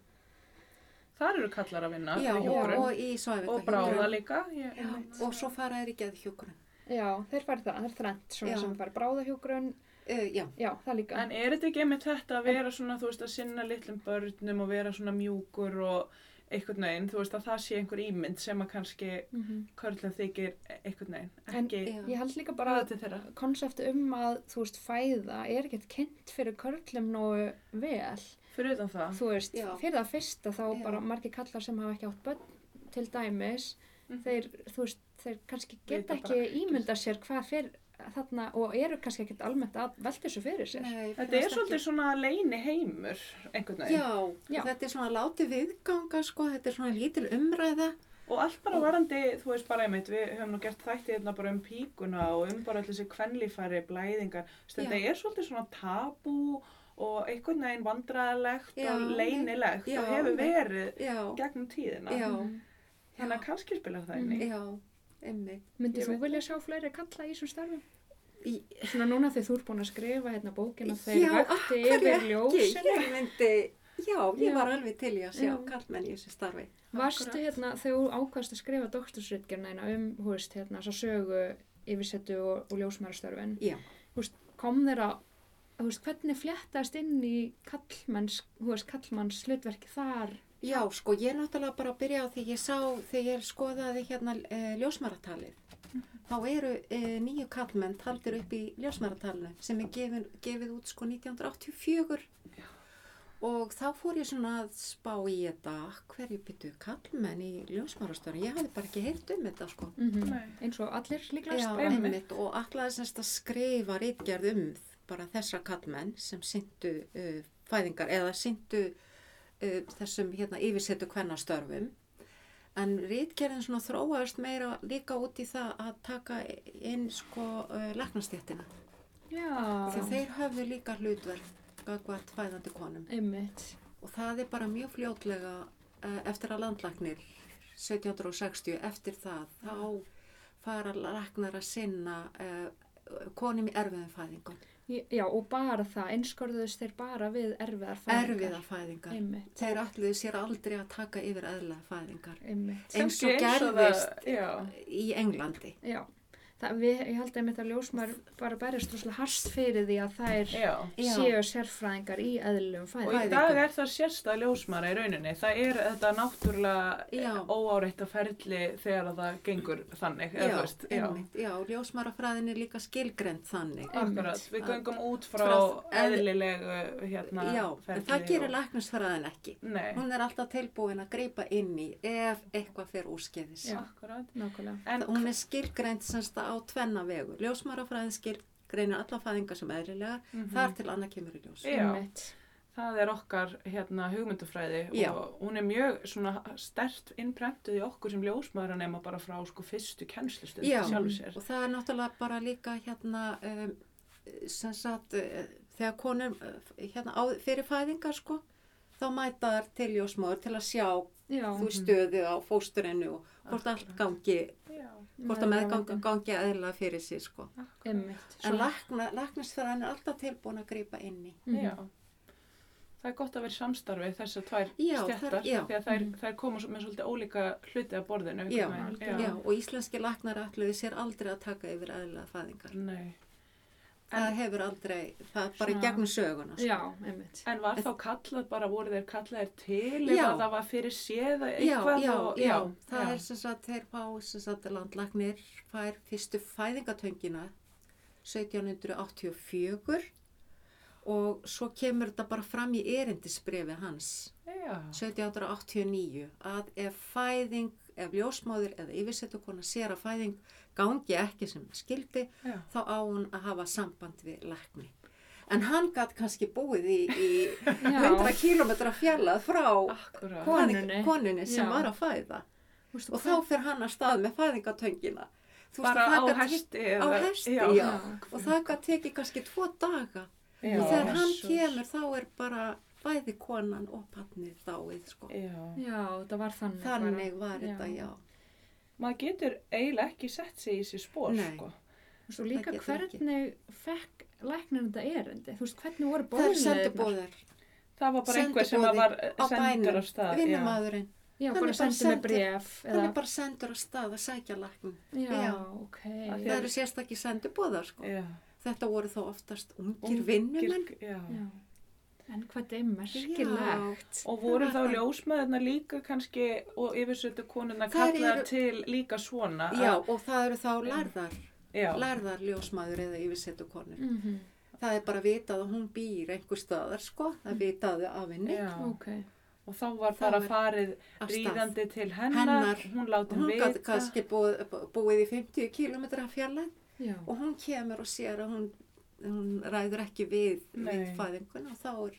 A: þar eru kallar að vinna
C: Já,
A: við
C: og,
A: Ah, hjúkrun.
C: og í
A: og bráða
C: svæfingahjúkurinn.
A: líka ég,
C: Og svo faraðið í geðhjúkurinn.
B: Já, þeir fari það, það er þrennt, svona
C: Já.
B: sem fari bráðahjúgrun,
C: uh, já,
B: Já, það líka.
A: En er þetta ekki einmitt þetta að vera svona, þú veist, að sinna litlum börnum og vera svona mjúkur og einhvern veginn, þú veist, að það sé einhver ímynd sem að kannski
B: Mhm.
A: körlum þykir e- einhvern veginn,
B: En-
A: ekki
C: já.
B: Ég held líka bara
A: bara
B: að
A: til þeirra.
B: konsept um að, þú veist, fæða er ekkert kynnt fyrir körlum nógu vel.
A: Fyrir utan það.
B: Þú veist,
C: Já.
B: fyrir það fyrsta þá
C: Já.
B: bara margir kallar sem hafa ekki átt börn til dæmis,
A: Mhm.
B: þeir, þú veist, þeir kannski
A: Vita
B: geta
A: bara
B: ekki ímynda sér hvað fyrir þarna og eru kannski ekkert almennt að velta þessu fyrir sér.
C: Nei,
A: Þetta er
C: fannst
A: svolítið svona leini heimur, einhvern
C: ekki-
A: veginn.
C: Já,
B: Já.
C: þetta er svona látið viðganga sko, þetta er svona lítil umræða.
A: Og allt bara varandi, þú veist bara einmitt, við höfum nú gert þætti hérna bara um píkuna og um bara allir þessi kvenlífæri, blæðingar. Þess að
C: Já.
A: þetta er svolítið svona tabú og einhvern veginn vandræðilegt
C: Já,
A: og leinilegt
C: já,
A: og hefur
C: einmitt.
A: verið
C: Já,
A: gegnum tíðina.
C: Já.
B: Mhm.
A: Þannig að Hérna kannski spilar það
B: Mhm.
A: inn í.
C: já, einmitt.
B: Myndir
A: Ég veit
B: þú vilja sjá fleiri kalla í þessum starfum?
C: Í-
B: Svona núna þegar þú ert búin að skrifa hérna bókina
C: Já,
B: þegar
C: af
B: vakti
C: hverju
B: yfir
C: ekki?
B: ljósinu.
C: Ég myndi, já, ég
B: Já.
C: var alveg til í að sjá
B: Já.
C: kallmenn í þessu starfi.
B: Varstu
A: Akkurat.
B: hérna þegar þú ákvæðast að skrifa doktorsritgerna hérna um, hú veist, hérna, svo sögu yfirsettu og, og ljósmærastörfin.
C: Já.
B: Hú veist, kom þeirra, hú veist, hvernig fléttast inn í kallmanns, hú veist, kallmanns hlutverki þar?
C: Já, sko, ég er náttúrulega bara að byrja á því ég sá, þegar ég skoðaði hérna e, ljósmaratalið, þá eru e, nýju kallmenn taldir upp í ljósmaratalinu sem er gefin, gefið út sko 1984 og þá fór ég svona að spá í þetta, hverju byttu kallmenn í ljósmarastöru, ég hafði bara ekki heyrt um þetta sko.
B: Mm -hmm.
A: Nei.
B: Eins og allir líklega
C: Já,
A: einmitt.
C: einmitt og allar semst að skrifa rítgerð um bara þessa kallmenn sem syndu uh, fæðingar eða syndu uh, þessum hérna yfirsetu kvennastörfum en rítgerðin svona þróaðist meira líka út í það að taka inn sko uh, læknastjættina því
B: Já,
C: þeir höfðu líka hlutverk gagvart fæðandi konum
B: einmitt.
C: og það er bara mjög fljótlega eh, eftir að landlagnir 1760 eftir það
A: Mm.
C: þá fara lagnar að sinna eh, konum í erfiðum fæðingum
B: Ég- Já, og bara það, einskorðuðust þeir bara við erfiðar fæðingar.
C: erfiða fæðingar
B: Einmitt,
C: þeir ætluðu sér aldrei að taka yfir eðla fæðingar
B: einmitt.
C: eins
A: Kannski
C: og gerðist
A: það- Já.
C: í Englandi
B: Já, það, við, ég held einmitt að ljósmar bara berjast rosalega harst fyrir því að þær
A: Já.
C: Já.
B: séu sérfræðingar í eðlum
A: Og
B: fæðingum.
A: í
C: Fæðingu.
A: dag er það sérstæð ljósmara í rauninni. Það er þetta náttúrulega
C: Já.
A: óáreitt að ferli þegar að það gengur þannig. eða
C: já,
A: þú veist, já.
C: einmitt, já, ljósmarafræðin er líka skilgrend þannig
A: Akkurat, við
C: Að-
A: göngum út frá
C: frá-
A: eðlilegu hérna
C: já, en
A: ferli
C: það gerir
A: og-
C: læknisfræðin ekki
A: Nei,
C: hún er alltaf tilbúin að greipa inn í ef eitthvað fer úrskeiðis
B: Já.
A: akkurat.
B: Nákvæmlega.
A: En
C: En hún er skilgreint semst á tvenna vegu. Ljósmarafræðin skilgreinir alla fæðingar sem eðlilegar, þar til annað kemur í ljós.
A: Mhm. Já.
B: Einmitt.
A: það er okkar hérna hugmyndafræði
C: Já.
A: og hún er mjög svona stert innprentuð í okkur sem ljósmaður nema bara frá sko fyrstu kennslustund
C: Já.
A: sjálfur sér.
C: Og það er náttúrulega bara líka hérna, um, sem sagt, uh, þegar konur uh, hérna, á, fyrir fæðingar sko, þá mæta þar til ljósmaður til að sjá
B: Já.
C: þú stöðu á fósturinu og hvort allt
A: Mhm. Akkurat.
C: gangi,
A: Já,
C: hvort að meðgangi gangi eðlilega fyrir sig sko.
A: akkurat.
B: Einmitt.
C: En lækna, læknisfræðin er alltaf tilbúin að grípa inn í.
B: Mhm.
A: Já. Það er gott að vera í samstarfi þessar tvær
C: Já,
A: stjættar
C: þær- já.
A: því að þær,
B: Mhm.
A: þær koma svo- með svolítið ólíka hluti að borðinu. einhvern
C: Já.
A: veginn.
B: Já.
C: Já, og íslenski læknar ætluðu sér aldrei að taka yfir eðlilega fæðingar.
A: Nei.
C: það hefur aldrei, það er bara í
A: Svona-
C: gegnum söguna. sko.
B: Já, einmitt.
A: En var þá kallað bara, voru þeir kallaðir til
C: Já.
A: eða það var fyrir séð
C: Já,
A: eitthvað
C: já,
A: og,
C: já, það er sem sagt, þeir fá, sem sagt, landlagnir fær fyrstu fæðingatöngina 1784 og svo kemur þetta bara fram í erindisbrefi hans
A: já,
C: 1789 að ef fæðing, ef ljósmáður eða yfirsetu konar sér að fæðing gangi ekki sem skildi
A: já,
C: þá á hún að hafa samband við lækni. En hann gætt kannski búið í, í
B: Já.
C: 100 km fjallað frá
A: Ah. akkurat.
B: Kon-
C: fæðing-
B: Konunni.
C: konunni sem
B: Já.
C: var að fæða.
B: Vistu,
C: Og þá fer hann að stað með fæðingatöngina. Þú veist,
A: Bara
C: það
A: á
C: gat tekið-
A: hesti
C: Á
A: eða...
C: hesti, já.
B: Já.
C: Og það gætt tekið kannski tvo daga.
A: Já.
C: og þegar hann
A: Jesus.
C: kemur þá er bara bæði konan og pannir dáið, sko.
A: Já.
B: Já, það var þannig.
C: Þannig
B: Já.
C: var þetta, já.
A: Maður getur eiginlega ekki sett sig í þessi spór,
C: Nei.
A: sko.
B: Vistu, líka
C: Það getur ekki.
B: hvernig fekk læknirinn þetta erindi? Þú veist, hvernig voru
C: Það er
B: boðleiðirnar?
C: sendubóðar
A: Það var bara einhver sem
C: Sendiboði
A: var
C: á
A: eh, sendur
C: bænum,
A: af stað. já.
C: vinnumadurinn.
B: Já,
C: Hann
B: bara
C: er
B: sendur
C: bara
B: með
C: sendur-
B: bref.
C: Hann er bara sendur af stað að sækja læknin.
B: Já,
C: Já.
B: ok.
A: Af því
C: Það eru sérstakki sendubóðar, sko.
A: Já.
C: Þetta voru þá oftast ungir
A: Ungir-
C: vinnumenn.
A: já.
B: Já. En hvað þetta er merkilegt.
A: Og voru þá
C: Það var það.
A: ljósmaðurna líka kannski og yfirsöldu konuna
C: Þær
A: kallar
C: eru-
A: til líka svona
C: Já, og það eru þá lærðar,
A: já,
C: lærðar ljósmaður eða yfirsetu konur.
B: Mm
C: Það er bara vitað að hún býr einhver staðar, sko. Það vitaði af henni
A: já.
B: Ok.
A: og þá var
C: Þá
A: bara
C: var-
A: farið
C: af stað.
A: ríðandi til hennar,
C: Hennar.
A: hún láti
C: Hún
A: vita
C: gæti kannski búið, búið í 50 km fjarlæð
B: Já.
C: og hún kemur og sér að hún, hún ræður ekki við, við
A: Nei.
C: fæðingun og þá er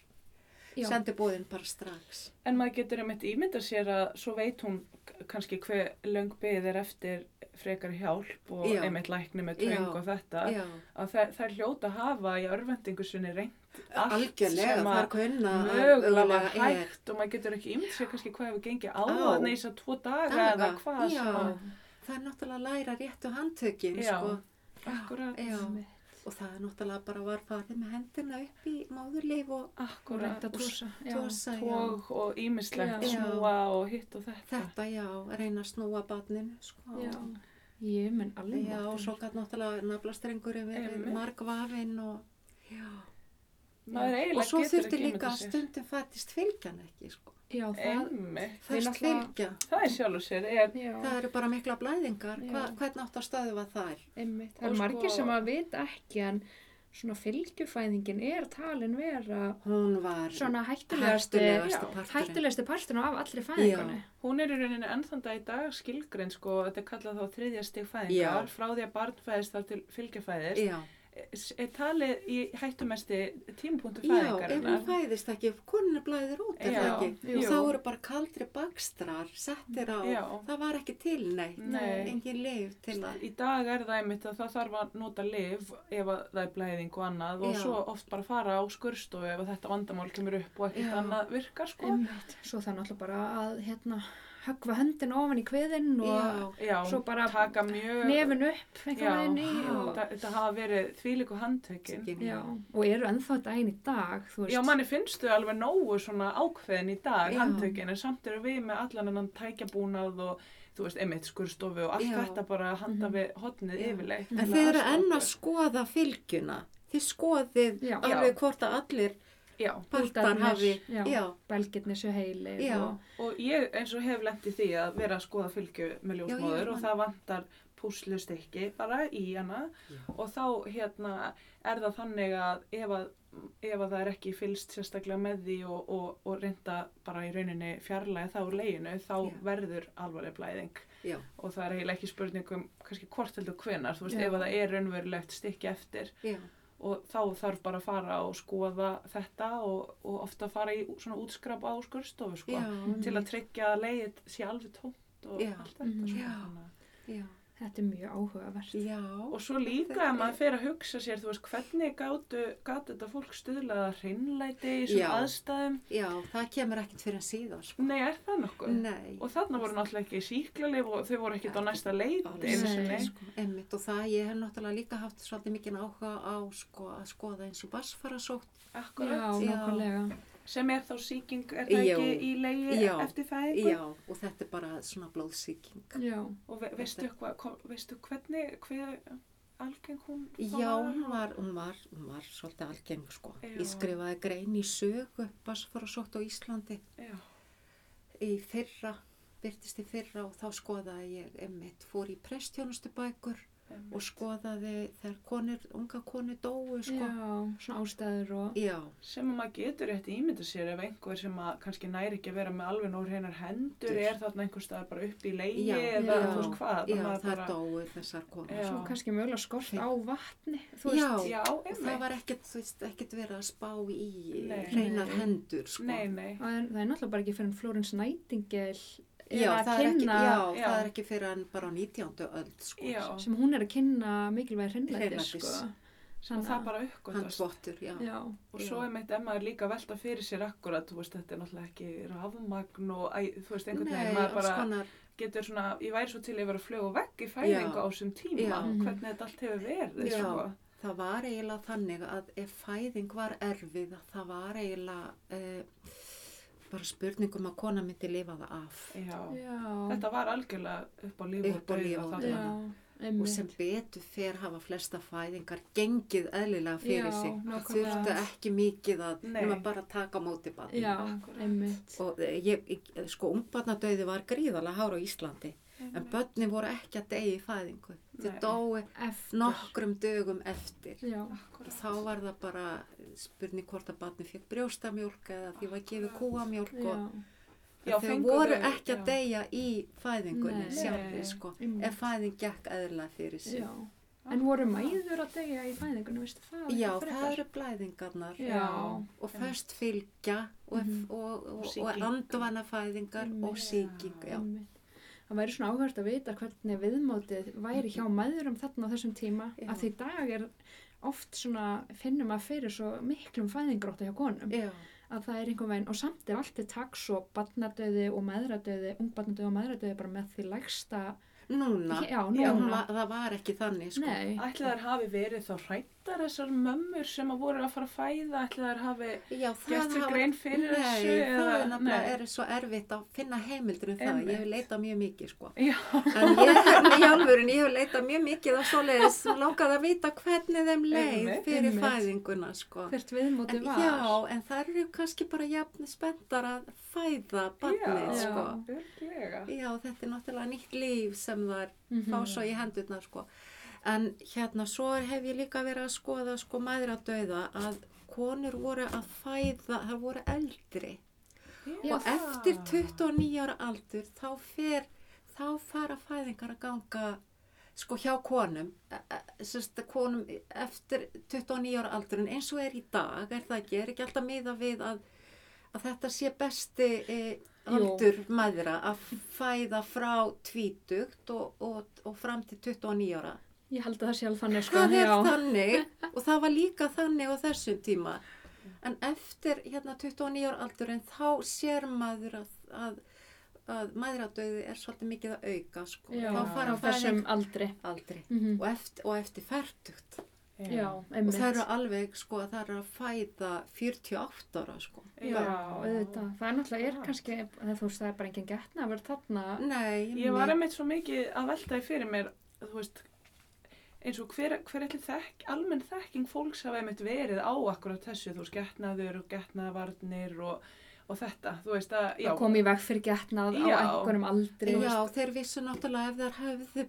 B: Já.
C: sendi búðin bara strax.
A: en maður getur einmitt ímynda sér að svo veit hún k- kannski hver löng byggð er eftir frekar hjálp og
C: Já.
A: einmitt lækni með
C: Já.
A: tvöng og þetta
C: Já,
A: að þær, þær hljóta hafa í örvendingu sinni reynd allt
C: algjörlega,
A: sem
C: það er
A: að
C: kunna að
A: mögulega var
C: mögulega er.
A: hægt og maður getur ekki ímynd sér kannski hvað hefur gengið á
C: Á.
A: þarna í þess tvo daga
C: Daga,
A: eða hvað
C: já.
A: sem að,
C: Það er náttúrulega að læra réttu handtökin,
A: Já.
C: sko.
A: akkurat,
C: Já,
B: Einmitt.
C: og það er náttúrulega bara var farið með hendina upp í máðurleif og
B: Og reynt
A: akkurat
B: að tósa.
C: tósa, já.
A: tóg og ímislegt
B: Já.
A: snúa og hitt og þetta,
C: Þetta, já, reyna að snúa batninu, sko.
B: Já. Ég menn alveg.
C: Já, og svo gætt náttúrulega naflastrengurinn verið
A: Einmitt.
C: margvafinn og, já.
A: maður
C: Og
A: eiginlega
C: svo
A: getur
C: þurfti
A: ekki
C: líka
A: ímynda
C: að
A: sér
C: stundum fættist fylgjan ekki, sko.
B: Já, það.
A: einmitt,
B: Við
C: Fættist
B: náttúrulega-
C: fylgja.
A: það er sjálf og sér er,
B: Já,
C: Það eru bara mikla blæðingar.
B: Já.
C: Hva, hvernig átt að stöðu var þær?
B: einmitt. Það
A: Og
B: er margir
A: sko-
B: sem að vita ekki en svona fylgjufæðingin er talin vera
C: Hún var
B: svona hættulegasti,
C: hættulegasti
B: já,
C: parturinn.
B: hættulegasti parturinn af allri fæðingunni.
A: hún er í rauninni ennþanda í dag skilgrein sko, þetta er kallað þá þriðja stig
C: Já.
A: fæðingar, frá því að barn fæðist þar til fylgjafæðist,
C: Já,
A: S- er talið í hættumesti tímapunktu
C: já, ef hún
A: fæðingarinnar
C: fæðist ekki, koninu blæðir út, er það
A: Já,
C: ekki?
B: jú.
C: Þá eru bara kaldri bakstrar, settir á,
A: Já.
C: það var ekki til neitt,
A: Nei.
C: engin leif til að,
A: Í dag er það einmitt að það þarf að nota liv ef að það er blæðing og annað og
C: Já.
A: svo oft bara fara á skurstofu ef að þetta vandamál kemur upp og
C: Já.
A: ekkert annað virkar sko.
B: Einmitt. Svo það er náttúrulega bara að hérna höggva höndin ofan í kviðinn og
A: Já,
B: svo bara
A: taka mjög...
B: nefin upp
A: Já,
B: einhvern veginn í
A: og...
B: og,
A: það, það hafa verið þvílíku handtökin.
C: Handtökin.
B: já, og eru ennþá daginn í dag, þú veist.
A: Já, manni finnst þau alveg nógu svona ákveðin í dag,
C: Já.
A: handtökin, en samt eru við með allan annan tækjabúnað og þú veist, einmitt skurstofu og allt
C: Já. Mhm.
A: þetta bara handa við hotnið
C: Já.
A: yfirleitt.
C: En
A: til
C: þið eru
A: aðstoða
C: enn að
A: okkur.
C: skoða fylgjuna, þið skoðið
B: Já.
C: alveg hvort að allir
A: Já,
C: partar
B: Bútarnir,
C: hafi,
B: já.
C: já,
B: Belgirni séu heilir
C: Já.
B: og
A: og ég eins og hef lent í því að vera að skoða fylgju með
C: Já, já,
A: ljósmóður og
C: man-
A: það vantar púslustykki bara í hana
C: Já.
A: og þá hérna er það þannig að ef að, ef að það er ekki fylst sérstaklega með því og, og, og reynda bara í rauninni fjarlæði þá úr leginu þá
C: Já.
A: verður alvarleg blæðing
C: já,
A: og það er eiginlega ekki spurning um kannski hvort heldur hvenar, þú veist,
B: Já.
A: ef að það er raunverulegt stykki eftir
C: já,
A: og þá þarf bara að fara og skoða þetta og, og ofta fara í svona útskrap á skurstofu sko
C: já,
A: til að tryggja að leiðið sé alveg tómt og
C: Já.
A: allt þetta
B: Mhm.
A: sko.
C: Já.
A: Þannig að-
C: já,
B: þetta er mjög áhugavert.
C: já.
A: og svo líka
C: Þetta
A: að
C: er-
A: maður fer að hugsa sér þú veist hvernig gátu, gátu þetta fólk stuðlaða hreinlæti í
C: Já.
A: svona aðstæðum
C: Já, það kemur ekkert fyrir en síðan, sko.
A: nei er það nokkuð
C: Nei.
A: og þarna voru náttúrulega ekki síklarleif og þau voru ekkert á
C: Ekki
A: næsta leiti einu
B: Nei.
A: sinni.
C: sko, einmitt og það ég hef náttúrulega líka haft svolítið mikinn áhuga á sko, að skoða eins og basfarasótt
B: Já,
A: akkurat
C: Já.
B: nákvæmlega.
A: sem er þá síking er það
C: Já.
A: ekki í leiði
C: Já.
A: eftir fæðingu
C: já, og þetta er bara svona blóðsýking
B: Já,
A: og ve veistu, hva, kom, veistu hvernig hver algeng hún
C: já, hún var, hún var, hún var svolítið algeng sko
A: Já.
C: ég skrifaði grein í sögu basfarasótt á Íslandi
A: Já.
C: í fyrra byrtist í fyrra og þá skoðaði ég einmitt, fór í prestjónustu bækur og skoðaði þegar konur, unga konur dóu sko
B: já, svona ástæður og...
C: já,
A: sem að maður getur rétt ímynda sér ef einhver sem að kannski næri ekki að vera með alveg nóg hreinar hendur
C: Hendur.
A: er þarna einhver staðar bara upp í leiði
C: Já,
A: eða
B: já.
A: þú veist hvað
C: já,
A: að maður
C: það bara... dóu þessar konur
A: Já.
B: Svo kannski mögulega skort á vatni, þú
C: Já.
B: veist.
A: já,
C: Og það
A: einmitt,
C: var ekkert, þú veist, ekkert verið að spá í
A: Nei.
C: hreinar
B: Nei.
C: hendur, sko.
A: nei, nei
B: Það er, það er náttúrulega bara ekki fyrir en Florence Nightingale er
C: Já,
B: að
C: það er, ekki,
B: kynna,
C: já,
A: Já.
C: það er ekki fyrir hann bara á 19. öld, sko.
A: já,
B: sem hún er að kynna mikilvæg hreinlæti,
C: Hreinlætis.
B: sko.
A: og
B: Sann
A: það bara
C: Hann
A: uppgötast
C: tvottur, já.
B: Já,
A: og svo einmitt ef maður líka velta fyrir sér akkurat, þú veist, þetta er náttúrulega ekki rafmagn og æ, þú veist, einhvern
C: Nei, sko,
A: veginn maður
C: alls
A: bara
C: konar,
A: getur svona, ég væri svo til að vera að fljóða vekk í fæðingu á
C: Já.
A: þessum tíma,
C: Já.
B: Mhm.
A: hvernig þetta allt hefur verið,
C: Já.
A: sko.
C: það var eiginlega þannig að ef fæðing var erfið, að það var eiginlega eh, bara spurning um að kona myndi lifa það af.
A: Já.
B: já.
A: Þetta var algjörlega upp á líf og
C: Upp á
A: dauða
C: líf og
A: þarna.
B: já.
C: dauða. og sem betur fer hafa flesta fæðingar gengið eðlilega fyrir
B: Já,
C: sig
B: nákvæmlega.
C: þurftu ekki mikið að
D: Nei.
C: nema bara að taka á móti bann
B: Já,
A: Akkúrat.
B: einmitt.
C: og eh, ég, ég- sko umbarnadauði var gríðalega hár á Íslandi en börnin voru ekki að deyja í fæðingu þau
A: Nei.
C: dói
B: Eftir.
C: nokkrum dögum eftir
B: Já,
C: og þá var það bara spurning hvort að barni fekk brjóstamjólk eða því var gefið kúamjólk
B: já.
C: og
A: Já,
C: þau
A: fengu
C: voru
A: þau-
C: ekki að
A: já.
C: deyja í fæðingunni
B: Nei.
C: sjálfri
A: Nei.
C: sko
B: Einmitt.
C: ef fæðing gekk eðlilega fyrir sig
B: Já. En voru mæður að degja í fæðingunum, veistu það? var
C: Já,
B: eitthvað frekar?
C: það eru blæðingarnar
B: Já.
C: og föst fylgja og,
B: Mhm.
C: og, og, og,
A: sýking.
C: andvanafæðingar og
B: Einmitt.
C: sýking. Já.
B: Einmitt. Það væri svona áhört að vita hvernig viðmótið væri hjá mæðurum þarna á þessum tíma
C: Já.
B: að því í dag er oft svona finnum að fyrir svo miklum fæðingróttu hjá konum
C: Já.
B: að það er einhvern veginn og samt er allt til taks og barnadauði og meðradauði, ungbarnadauði og meðradauði bara með því lægsta
C: Núna,
B: Já,
C: Já,
B: núna.
C: va- það var ekki þannig sko.
B: Nei,
A: Ætli þær hafi verið þá hrættar þessar mömmur sem að voru að fara að fæða, ætli þær hafi
C: Já, það
A: Gert sér
C: hafa-
A: grein fyrir
C: nei,
A: þessu
C: það
A: eða-
C: er nefnilega
A: nei.
C: er svo erfitt að finna heimildur um það. Ég hef
A: Einmitt.
C: leitað mjög mikið sko.
A: Já.
C: En ég, hérna í alvörun, ég hef leitað mjög mikið af svoleiðis og langaði að vita hvernig þeim leið
A: Einmitt,
C: fyrir
B: einmitt.
C: fæðinguna sko.
B: hvert viðmótið
C: En,
B: var.
C: já, en það eru kannski bara jafn spenntar að fæða barnið
B: Já.
C: sko.
A: örglega.
C: Já, þetta er náttúrulega nýtt líf sem þar
B: Mhm.
C: fá svo í hendurnar sko. En hérna, svo hef ég líka verið að skoða sko mæðra dauða að konur voru að fæða, það voru eldri.
B: Já,
C: og eftir 29 ára aldur þá fer, þá fara fæðingar að ganga sko hjá konum, e- e- sérst konum eftir 29 ára aldur en eins og er í dag, er það ekki, er ekki alltaf miða við að, að þetta sé besti e,
B: Jú.
C: aldur mæðra að fæða frá tvítugt og, og, og fram til 29 ára.
B: Ég held að það sé alveg þannig sko.
C: Það er
B: já.
C: þannig og það var líka þannig á þessum tíma. En eftir hérna 29 ára aldurinn þá sér maður að, að, að maðuradauði er svolítið mikið að auka sko.
B: Já,
C: þá fara
B: á þessum
C: fæðing
B: aldri.
C: aldri
B: Mm
C: og eftir, og eftir fertugt.
B: Já,
C: Og
B: einmitt.
C: það eru alveg sko að það eru að fæða 48 ára sko.
B: Já, auðvitað. Það er náttúrulega er
A: Já.
B: kannski, eða þú veist, það er bara engin getna að vera þarna.
C: Nei,
A: Ég var
C: nei,
A: einmitt svo mikið að velta í fyrir mér, þú veist, eins og hver, hver ætli þekk, almenn þekking fólks hafa einmitt verið á akkurat þessu, þú veist, getnaður og getnaðvarnir og, og þetta, þú veist að, já,
B: að koma í veg fyrir getnað á
A: Já.
B: einhverjum aldri.
C: já, þeir vissu náttúrulega ef þær höfðu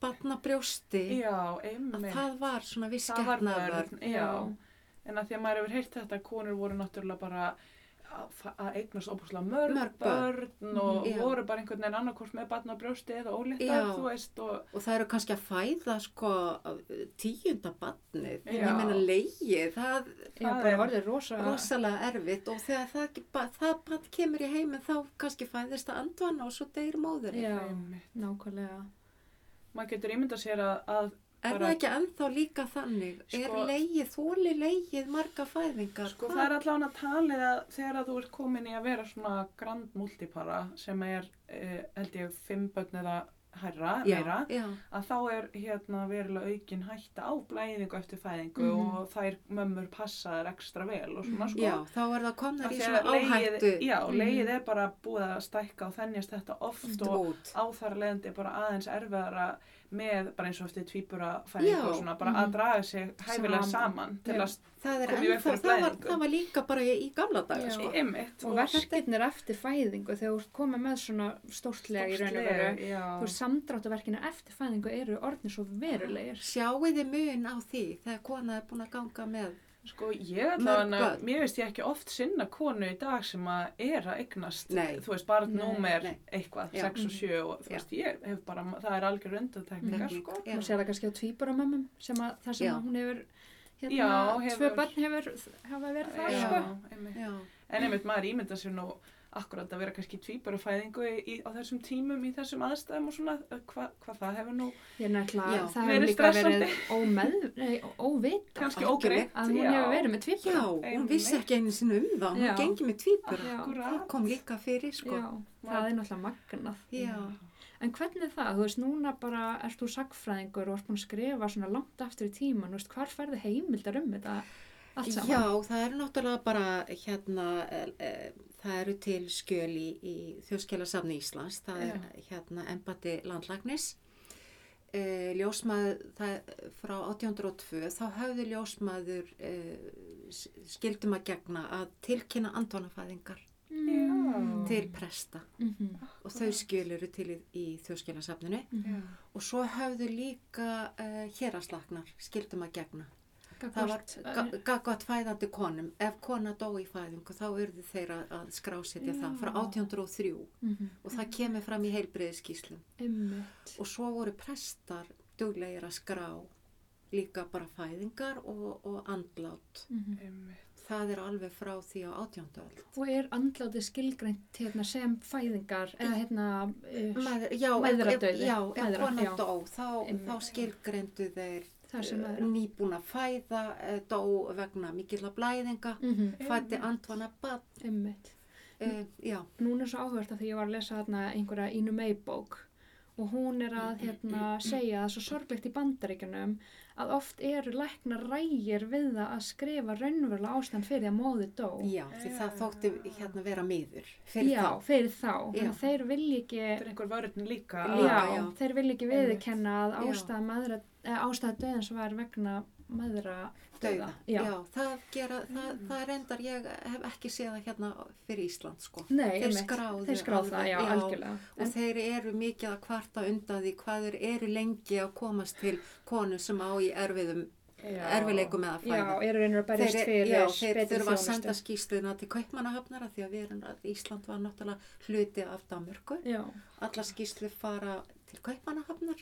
C: batna brjósti
A: já,
C: að
A: einmitt,
C: það var svona viss
A: það var
C: getnaðvörn.
A: vörn, já, en að því að maður hefur heyrt þetta, konur voru náttúrulega bara að fa- að eignast óbúslega mörg,
C: Mörg börn.
A: börn og
C: Mhm, já.
A: voru bara einhvern veginn annarkort með barn á brjósti eða ólittar,
C: Já.
A: þú veist, og
C: Og það eru kannski að fæða sko tíunda barnið,
A: Já.
C: ég meina leigið, það
B: Já,
A: það
B: bara
A: er
B: orðið rosa.
C: er rosalega erfitt og þegar það, ekki ba- það barn kemur í heiminn þá kannski fæðist það andvana og svo deyr móðurinn.
B: Já,
A: einmitt.
B: nákvæmlega.
A: maður getur ímyndað sér að, að
C: Er
A: bara-
C: það ekki ennþá líka þannig? er
A: Sko-
C: leigið, þóli leigið marga fæðingar?
A: Sko
C: Hvað-
A: það er allan að talið að þegar að þú ert komin í að vera svona grand multipara sem er, eh, held ég, fimm börn eða hærra,
C: já,
A: meira,
C: Já,
A: að þá er hérna verulega aukin hætta á blæðingu eftir fæðingu
B: Mhm.
A: og þær mömmur passaðar ekstra vel og svona
B: Mhm.
A: sko.
C: já, þá er það komnar
A: Af
C: í
A: því
C: svona
A: að legið-
C: áhættu
A: Já,
B: Mhm.
A: legið er bara búið að stækka og þennjast þetta oft og
C: út.
A: á þar leðandi bara aðeins erfiðara með bara eins og eftir tvíbura fæðingu
C: Já.
A: og svona bara
B: Mhm.
A: að draga sig hæfilega
B: Saman.
A: saman til
B: Já.
A: að
C: Það er
A: komið í veg
C: ennþá,
A: fyrir
C: það var,
A: blæðingu.
C: það var líka bara í, í gamla daga
B: Já.
C: sko.
A: ymmit
B: Og verkefnir eftir fæðingu, þegar þú ert komið með svona stórtlega í raun og veru, þú veist, samdráttuverkina eftir fæðingu eru orðin svo verulegir.
C: Sjáuð þið mun á því þegar kona er búin að ganga með
A: Sko ég
C: Mörg
A: allavega,
C: börn.
A: mér veist ég ekki oft sinna konu í dag sem að er að eignast,
C: Nei.
A: þú veist, barn
B: Nei, Mhm.
A: númer
C: nei.
A: eitthvað,
C: Já.
A: 6 og 7 og þú
C: Já.
A: veist, ég hef bara, það er algjör undantekningar,
C: Tekning,
A: sko.
C: já.
B: Maður sér það kannski á tvíburamömmum, sem að það sem
C: Já.
B: að hún hefur, hérna,
A: Já,
B: tvö
A: hefur-
B: börn hefur, hafa verið það,
A: Já,
B: sko.
A: einmitt.
C: Já,
A: En einmitt maður ímynda sér nú akkurat að vera kannski tvíbarafæðingu í, í, á þessum tímum, í þessum aðstæðum og svona, eh, hva, hvað það hefur nú
B: Ég er
C: Já.
B: nefnilega, það
A: Verið
B: hefur líka
A: stressandi.
B: verið ómeð, nei, óvita
A: kannski
C: algjörlega.
A: ógreitt.
B: að hún hefur verið með tvíbura.
C: já hún vissi ekki einu sinni um það, hún
B: Já.
C: gengi með tvíbura.
B: Já.
C: Það kom líka fyrir, sko.
B: Já, það er náttúrulega magnað.
C: Já.
B: En hvernig er það? Þú veist, núna bara ert þú sagfræðingur og ert búin að skrifa svona langt aftur í tíman, þú veist, hvar færðu heimildar um þetta allt saman?
C: Já, það eru náttúrulega bara, hérna, eh, eh, það eru til skjöl í, í Þjóðskjálasafni Íslands, það er
A: Já.
C: hérna embati landlagnis e, ljósmaður það, frá 1802 þá hafði ljósmaður e, skildum að gegna að tilkynna andvanafæðingar
D: Já.
C: til presta
B: Mm. Mhm.
C: og þau skjöl eru til í, í þjóðskilasafninu
B: Mhm.
C: og svo hafðu líka e, héraslagnar skildum að gegna það var
B: Gagnvart-
C: gagvat fæðandi konum ef kona dó í fæðingu þá urðu þeir að- að skrásetja það frá
B: Já.
C: 1803
B: Mhm.
C: og það kemur fram í heilbreyðskíslum
B: Einmitt.
C: og svo voru prestar duglegir að skrá líka bara fæðingar og, og andlát
B: Mhm.
C: það er alveg frá því á 18. öld
B: Og er andláti skilgreint hérna, sem fæðingar eða hérna, uh,
C: Mæður, já, ef-
B: Mæðradauði.
C: ef- já, ef
B: Mæðra,
C: kona
B: já.
C: dó þá,
B: Einmitt.
C: þá skilgreindu þeir
B: það sem
C: eh,
B: að...
C: nýbúna fæða eh, dó vegna mikilla blæðinga
B: Mhm,
C: fætti andvana bad
B: Einmitt.
C: uh, já,
B: Núna er svo áhvert að því ég var að lesa hérna, einhverja Ínu May bók og hún er að hérna, segja að svo sorglegt í bandaríkjunum að oft eru læknar rægir við það að skrifa raunverulega ástand fyrir því að móði dó.
C: já, því það þótti hérna vera miður fyrir
B: Já,
C: þá
B: fyrir þá. Þannig
C: Já.
B: að þeir vilja ekki
D: Þetta er einhver vörðin líka.
B: Já,
D: að-
C: já.
B: þeir vilja ekki viðkenna að
C: Já.
B: ástæða, maðra, eh, ástæða döðans var vegna maðra
C: dauða,
B: Já. Mm.
C: já. það gera, það, það reyndar ég hef ekki séð það hérna fyrir Ísland sko
B: Nei,
C: Þeir
B: einmitt.
C: skráðu
B: þeir skráðu það,
C: alveg,
B: já,
C: já.
B: algjörlega.
C: og þeir eru mikið að kvarta undan því hvað þeir eru lengi að komast til konu sem á í erfiðum erfileikum með að
B: Já,
C: fæða
B: eru reynir að berjast
C: Þeir-
B: fyrir
C: já, þeir
B: betri
C: þurfa að
B: þjónustu.
C: senda skýsluna til kaupmannahafnara því að, við erum að Ísland var náttúrulega hluti af Danmörku
B: Já,
C: alla skýslu fara til kaupmannahafnar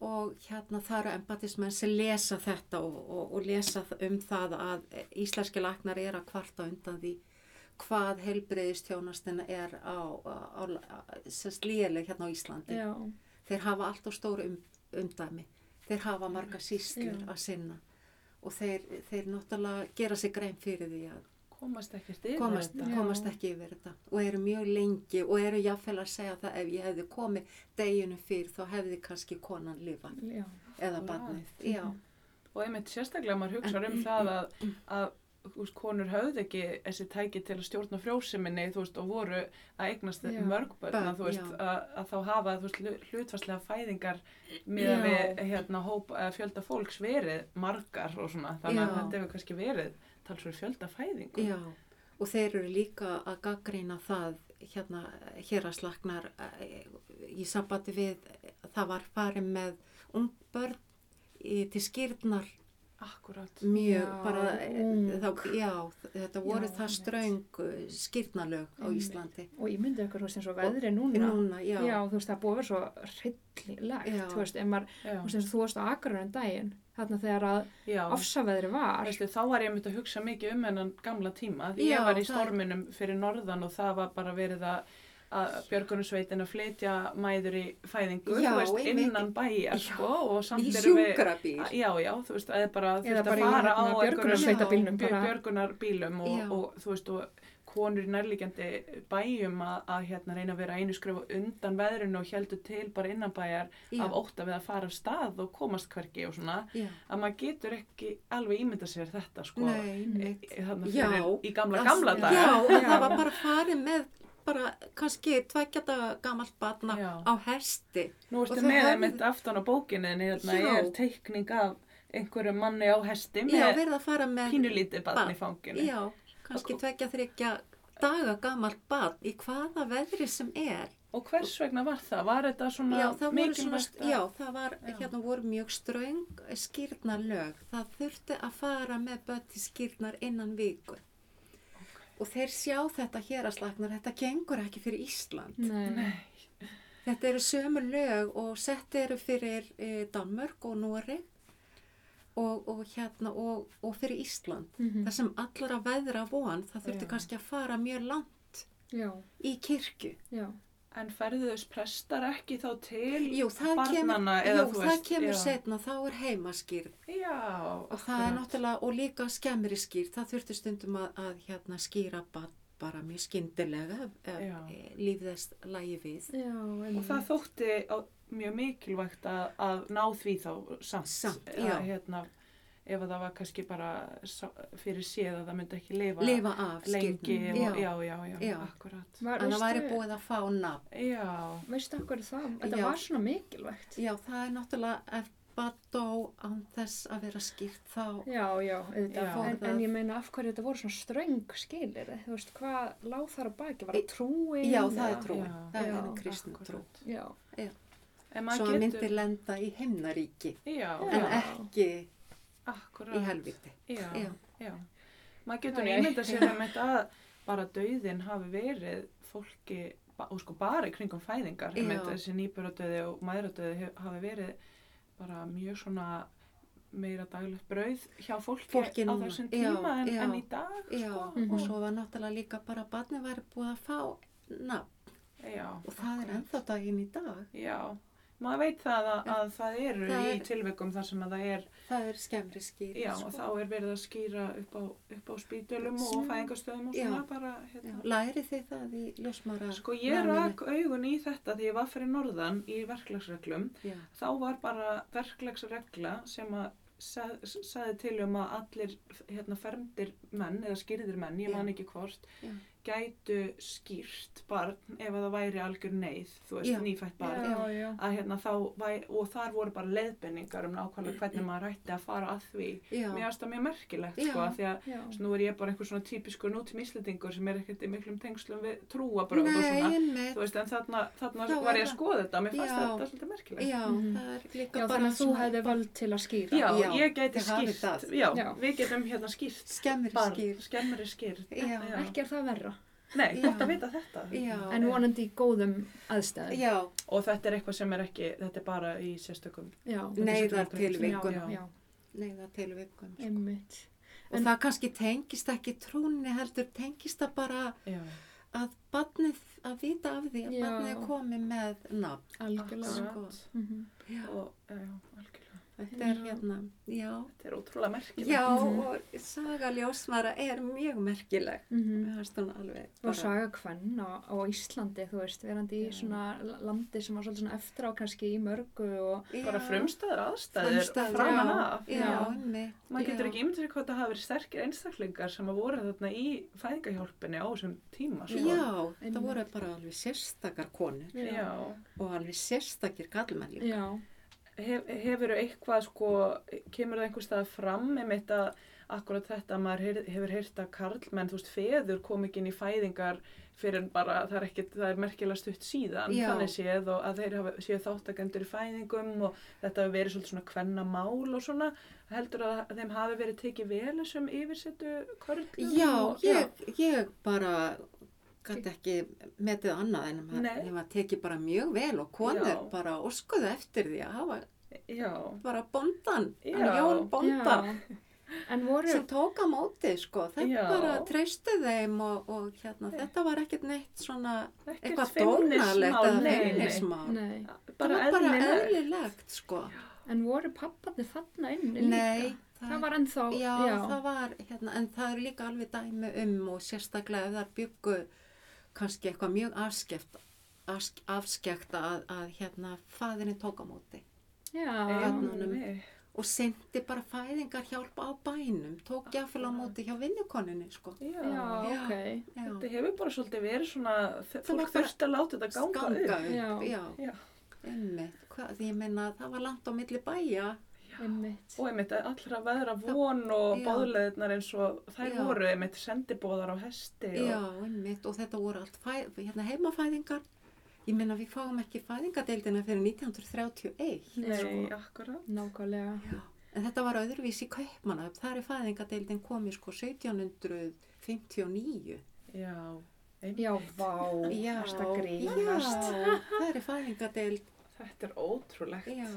C: og hérna það eru embatismenn sem lesa þetta og, og, og lesa þ- um það að íslenski læknar er að kvarta undan því hvað helbreyðistjónastina er á, á, á, á slíðileg hérna á Íslandi.
B: já,
C: Þeir hafa allt og stóru um, umdæmi, þeir hafa marga síslur
B: Já.
C: að sinna og þeir, þeir náttúrulega gera sig grein fyrir því að
A: komast ekkert yfir
C: komast,
A: þetta.
B: Já.
C: komast ekki yfir þetta og eru mjög lengi og eru jáfnvel að segja það ef ég hefði komið deginum fyrr þá hefði kannski konan lifað
B: já,
C: eða
A: Akkúrat.
C: barnið. Já,
A: og einmitt sérstaklega maður hugsar um það að, að þú veist, konur höfðu ekki þessi tæki til að stjórna frjóseminni þú veist, og voru að eignast
B: Já.
A: mörg börn
C: Börn,
A: að, þú veist,
C: já.
A: að, að þá hafa þú veist, hlu- hlutfallslega fæðingar með
B: Já.
A: við hérna, hóp, eh, fjölda fólks verið margar og svona þannig að
C: Já.
A: þetta hefur kannski verið talsverð fjölda fæðingu
C: já. Og þeir eru líka að gaggrína það hérna hér að slagnar í sambandi við eh, það var farið með ungbörn í, til skýrnar
A: akkurat
C: mjög
B: Já,
C: bara eh,
B: ung.
C: þá, já, þetta voru það
B: einmitt.
C: ströng eh, skýrnalög á
B: Einmitt.
C: Íslandi.
B: og ég myndi okkur, þú veist, eins og veðri núna.
C: Núna, já.
B: þú veist, það er búið að vera svo hryllilegt,
C: Já.
B: þú veist, ef maður,
A: já.
B: þú veist, eins og þú varst á Akureyri um daginn, þarna þegar að
A: Já.
B: ofsaveðri var,
A: Veistu, þá var ég myndi að hugsa mikið um hennan gamla tíma því
C: Já,
A: ég var í
C: það-
A: storminum fyrir norðan og það var bara verið að að björgunarsveitin að flytja mæður í fæðingu,
C: Já,
A: þú veist,
C: einmitt.
A: innan bæjar
C: Já,
A: sko og samt
C: í
A: erum við
C: sjúkrabíl.
A: já, já, þú veist, eða bara þú
B: eða
A: veist að
B: bara í
A: fara á
B: hérna,
A: einhverjum
B: björgunarsveitabílnum,
A: björ-
B: bara,
A: björgunarbílum og,
C: Já.
A: og þú veist, og konur í nærliggjandi bæjum að, að hérna reyna að vera einu skrifa undan veðrinu og heldur til bara innan bæjar
C: Já.
A: af ótta við að fara af stað og komast hvergi og svona
C: Já.
A: að maður getur ekki alveg ímynda sér þetta sko
C: Nei, mitt.
A: þannig
C: Já.
A: fyrir í gamla
C: Allt-
A: gamla daga
C: Já, og
B: Já.
C: það var bara farið með bara kannski tveggja daga gamalt batna
A: Já.
C: á hersti.
A: nú
C: Og
A: ertu
C: þau
A: með
C: höfðu-
A: mitt aftan á bókinni en hérna
C: Já.
A: er teikning af einhverju manni á hesti
C: Já,
A: með
C: verið að fara með...
A: pínulítið barn
C: barn.
A: í fanginu
C: Já, kannski tveggja, þryggja daga gamalt batn í hvaða veðri sem er.
A: og hvers vegna var það? Var þetta svona
C: Já, það voru svona,
A: mikilvægt að-
C: já, það var,
A: Já.
C: hérna voru mjög ströng skýrnarlög. Það þurfti að fara með börn til skýrnar innan viku. Og þeir sjá þetta hér að slagnar, þetta gengur ekki fyrir Ísland.
B: nei,
A: Nei,
C: Þetta eru sömu lög og sett eru fyrir e, Danmörk og Nóri og, og, hérna, og, og fyrir Ísland.
B: mhm,
C: Það sem allra veðra von, það þurfti
A: Já.
C: kannski að fara mjög langt
B: já,
C: í kirkju.
B: já,
A: en ferðu þess prestar ekki þá til
C: Jú, það
A: barnanna
C: kemur,
A: eða
C: jú,
A: þú
C: það
A: veist
C: kemur
A: já.
C: setna, þá er heimaskýrð
A: já,
C: og það er
A: akkurat.
C: náttúrulega, og líka skemmri skýrð, það þurfti stundum að, að hérna, skýra bara, bara mjög skyndilega ef,
A: Já.
C: ef eh, líf þess lægi við.
B: já,
A: og það þótti á, mjög mikilvægt að, að ná því þá samt,
C: Samt,
A: að,
C: já.
A: hérna, ef að það var kannski bara sá- fyrir séð að það myndi ekki lifa
C: lifa af
A: lengi
C: skírnum.
A: og,
C: já,
A: já, já, já,
C: Já.
A: akkurat
B: Var,
C: þannig að væri
B: veistu,
C: búið að fá nafn
A: já,
B: veistu okkur það? Þetta
C: Já.
B: var svona mikilvægt.
C: já, það er náttúrulega ef bara dó án þess að vera skýrt þá
B: Já, já, auðvitað.
A: Já.
B: En, en ég meina af hverju þetta voru svona ströng skilir, þú veist, hvað láð þar að baki, var það trúin?
C: já, það er
B: eða-
C: trú,
A: Já.
C: það er
B: Já,
C: henni kristnum trú
A: akkurat
B: Já,
A: en
C: svo
A: maður
C: að
A: getur
C: myndir lenda í himnaríki
A: já,
C: en
A: já,
C: ekki
A: akkurat
C: í helviti
A: já,
C: Já.
A: já. maður getur
B: Æ, æ.
A: ímynda sér að mitt að bara dauðin hafi verið fólki ba- og sko bara í kringum fæðingar
C: Já.
A: einmitt, þessi nýburadauði og mæðradauði hef- hafi verið bara mjög svona meira daglegt brauð hjá fólki
C: Fólki
A: á
C: núna.
A: þessum
C: Já,
A: tíma en,
C: já.
A: en í dag
C: já,
A: sko
C: og
B: Mhm.
C: svo var náttúrulega líka bara að barni væri búið að fá nafn
A: já,
C: og það er ennþá daginn í dag
A: já, maður veit það að, að það eru
C: Það
A: í
C: er-
A: tilveikum þar sem að það er
C: það er skemmri skýrt
A: já,
C: sko.
A: þá er verið að skýra upp á, upp á spítölum og
B: Sem-
A: fæðingastöðum og
C: Já.
A: svona bara
C: Já,
A: hérna,
C: lærið þið það í ljósmara
A: Sko ég rak augun í þetta því ég var fyrir norðan í verklagsreglum.
C: já,
A: Þá var bara verklagsregla sem að sag- sagði til um að allir hérna, fermdir menn eða skýrðir menn, ég
C: Já.
A: man ekki hvort,
C: Já.
A: gætu skýrt barn ef að það væri algjör neyð, þú veist,
C: Já.
A: nýfætt barn.
B: já, já.
A: Að, hérna, þá, væ- og þar voru bara leiðbenningar um nákvæmlega hvernig maður ætti að fara að því.
C: já,
A: Mér finnst það mjög merkilegt,
C: Já.
A: sko, af því að
B: já.
A: Svo Nú er ég bara einhver svona típiskur nútum íslendingur sem er ekkert í miklum tengslum við trúabröð og
C: nei,
A: svona.
C: einmitt
A: Þú veist, en þarna, þarna
C: Þá
A: var
C: er
A: ég að
C: það-
A: skoða þetta, mér fannst
C: Já.
A: þetta svolítið merkilegt.
C: já,
B: Mhm.
C: það er líka
B: Já,
C: bara
B: þannig að þú
C: svona
B: hefði völd til að skýra.
A: Já,
C: Já,
A: ég gæti
C: þið hafið
A: skýrt,
C: það.
A: já,
B: Já.
A: við getum hérna skýrt,
C: skemmri
A: barn,
C: skýrt
A: skemmri skýrt.
C: Já.
B: Ekki er það verra,
A: Nei,
C: Já.
A: gott að vita þetta.
C: já,
B: en vonandi í gónum aðstæðum.
C: já,
A: Og þetta er eitthvað sem er ekki, þetta er bara í sérstökum.
B: Já,
C: neyðartilvikum
B: já, já,
C: neyðartilvikum sko.
B: einmitt.
C: og
B: En-
C: það kannski tengist ekki trúnni heldur tengist það bara
A: Já,
C: að barnið að vita af því að
B: Já.
C: barnið er komið með nafn
B: Algjörlega.
C: sko.
A: akkurat.
B: Mm
C: já,
A: Og, já, algjörlega.
C: þetta er
B: Já.
C: hérna já,
A: Þetta er ótrúlega merkilegt.
C: já
B: Mhm.
C: og saga ljósmara er mjög merkileg mér finnst hún alveg
B: mhm. Og
C: bara-
B: saga hvern á, á Íslandi, þú veist, verandi í
A: Já.
B: svona la- landi sem var svolítið svona eftir á kannski í mörgu og
A: Bara
C: Já.
A: frumstæður aðstæður
C: Frumstæður,
A: framan
B: já.
A: af.
C: já,
B: Já.
C: einmitt,
A: Maður getur
C: já.
A: ekki ímyndið sér hvað það hafi verið sterkir einstaklingar sem að voru þarna í fæðingahjálpinni á þessum tíma. sko.
C: Já, þetta
B: Einmitt.
C: voru bara alveg sérstakar konur
A: Já.
C: og alveg sérstakir kallmenn líka.
B: já,
A: Hef, hefur eitthvað sko, kemur það einhvers staðar fram einmitt að akkurat þetta maður heyr- hefur heyrt að karlmenn, þú veist, feður kom ekki inn í fæðingar fyrir en bara það er ekkit, það er merkilega stutt síðan
C: Já.
A: þannig séð og að þeir hafa, séu þáttakendur í fæðingum og þetta hafi verið svolítið svona kvenna mál og svona heldur að þeim hafi verið tekið vel þessum yfirsettu körlum
C: Já,
A: og,
C: ég, ég bara gæti ekki metið annað en að
A: Nei.
C: maður- þeim að teki bara mjög vel og konur
A: Já.
C: bara óskuðu eftir því að hafa
A: já,
C: bara bondan,
A: Já.
C: hann Jón bondan
B: já. En voru,
C: sem tók á móti sko, þeim
A: Já.
C: bara treystu þeim og, og hérna, þetta var ekkert neitt svona
A: ekkert
C: eitthvað
A: feimnismál,
C: dónalegt
A: nei,
C: eða
A: nei.
C: feimnismál.
B: nei,
C: Það
A: bara
C: var bara
A: eðlilegt
C: eðlilegt sko.
B: en voru pappandi þarna inni
C: Nei,
B: líka? Það var ennþá,
C: Já, það var, hérna, en það eru líka alveg dæmi um og sérstaklega ef það byggu kannski eitthvað mjög afskeft, afsk, afskekta að, að hérna, faðinni tók á móti
B: já,
A: Hérna.
C: Einmitt. og sendi bara fæðingar hjálpa á bænum, tók jáfnvel á móti hjá vinnukoninni, sko.
A: já,
B: já,
C: Já.
B: ok,
C: Já,
A: Þetta hefur bara svolítið verið svona, það
C: var
A: fólk
C: bara-
A: þurfti að láta þetta ganga
C: Ganga
A: upp.
B: Já.
C: upp, já,
A: Já.
C: einmitt, hvað, því ég meina að það var langt á milli bæja,
B: einmitt,
A: Og einmitt allra veðra von og
C: Já.
A: bóðleðnar eins og þær
C: Já.
A: voru einmitt sendibóðar á hesti og
C: já, einmitt, og þetta voru allt fæ, hérna, heimafæðingar, ég meina við fáum ekki fæðingadeildina fyrir 1931.
A: nei,
B: nei,
A: akkurat.
B: nákvæmlega,
C: Já, en þetta var öðruvísi í Kaupmannahöfn. Þar er fæðingadeildin komið sko 1759.
A: Já, einmitt.
B: já, vá,
C: Já,
B: erst að grínast,
C: já, þar er fæðingadeild.
A: Þetta er ótrúlegt.
C: Já,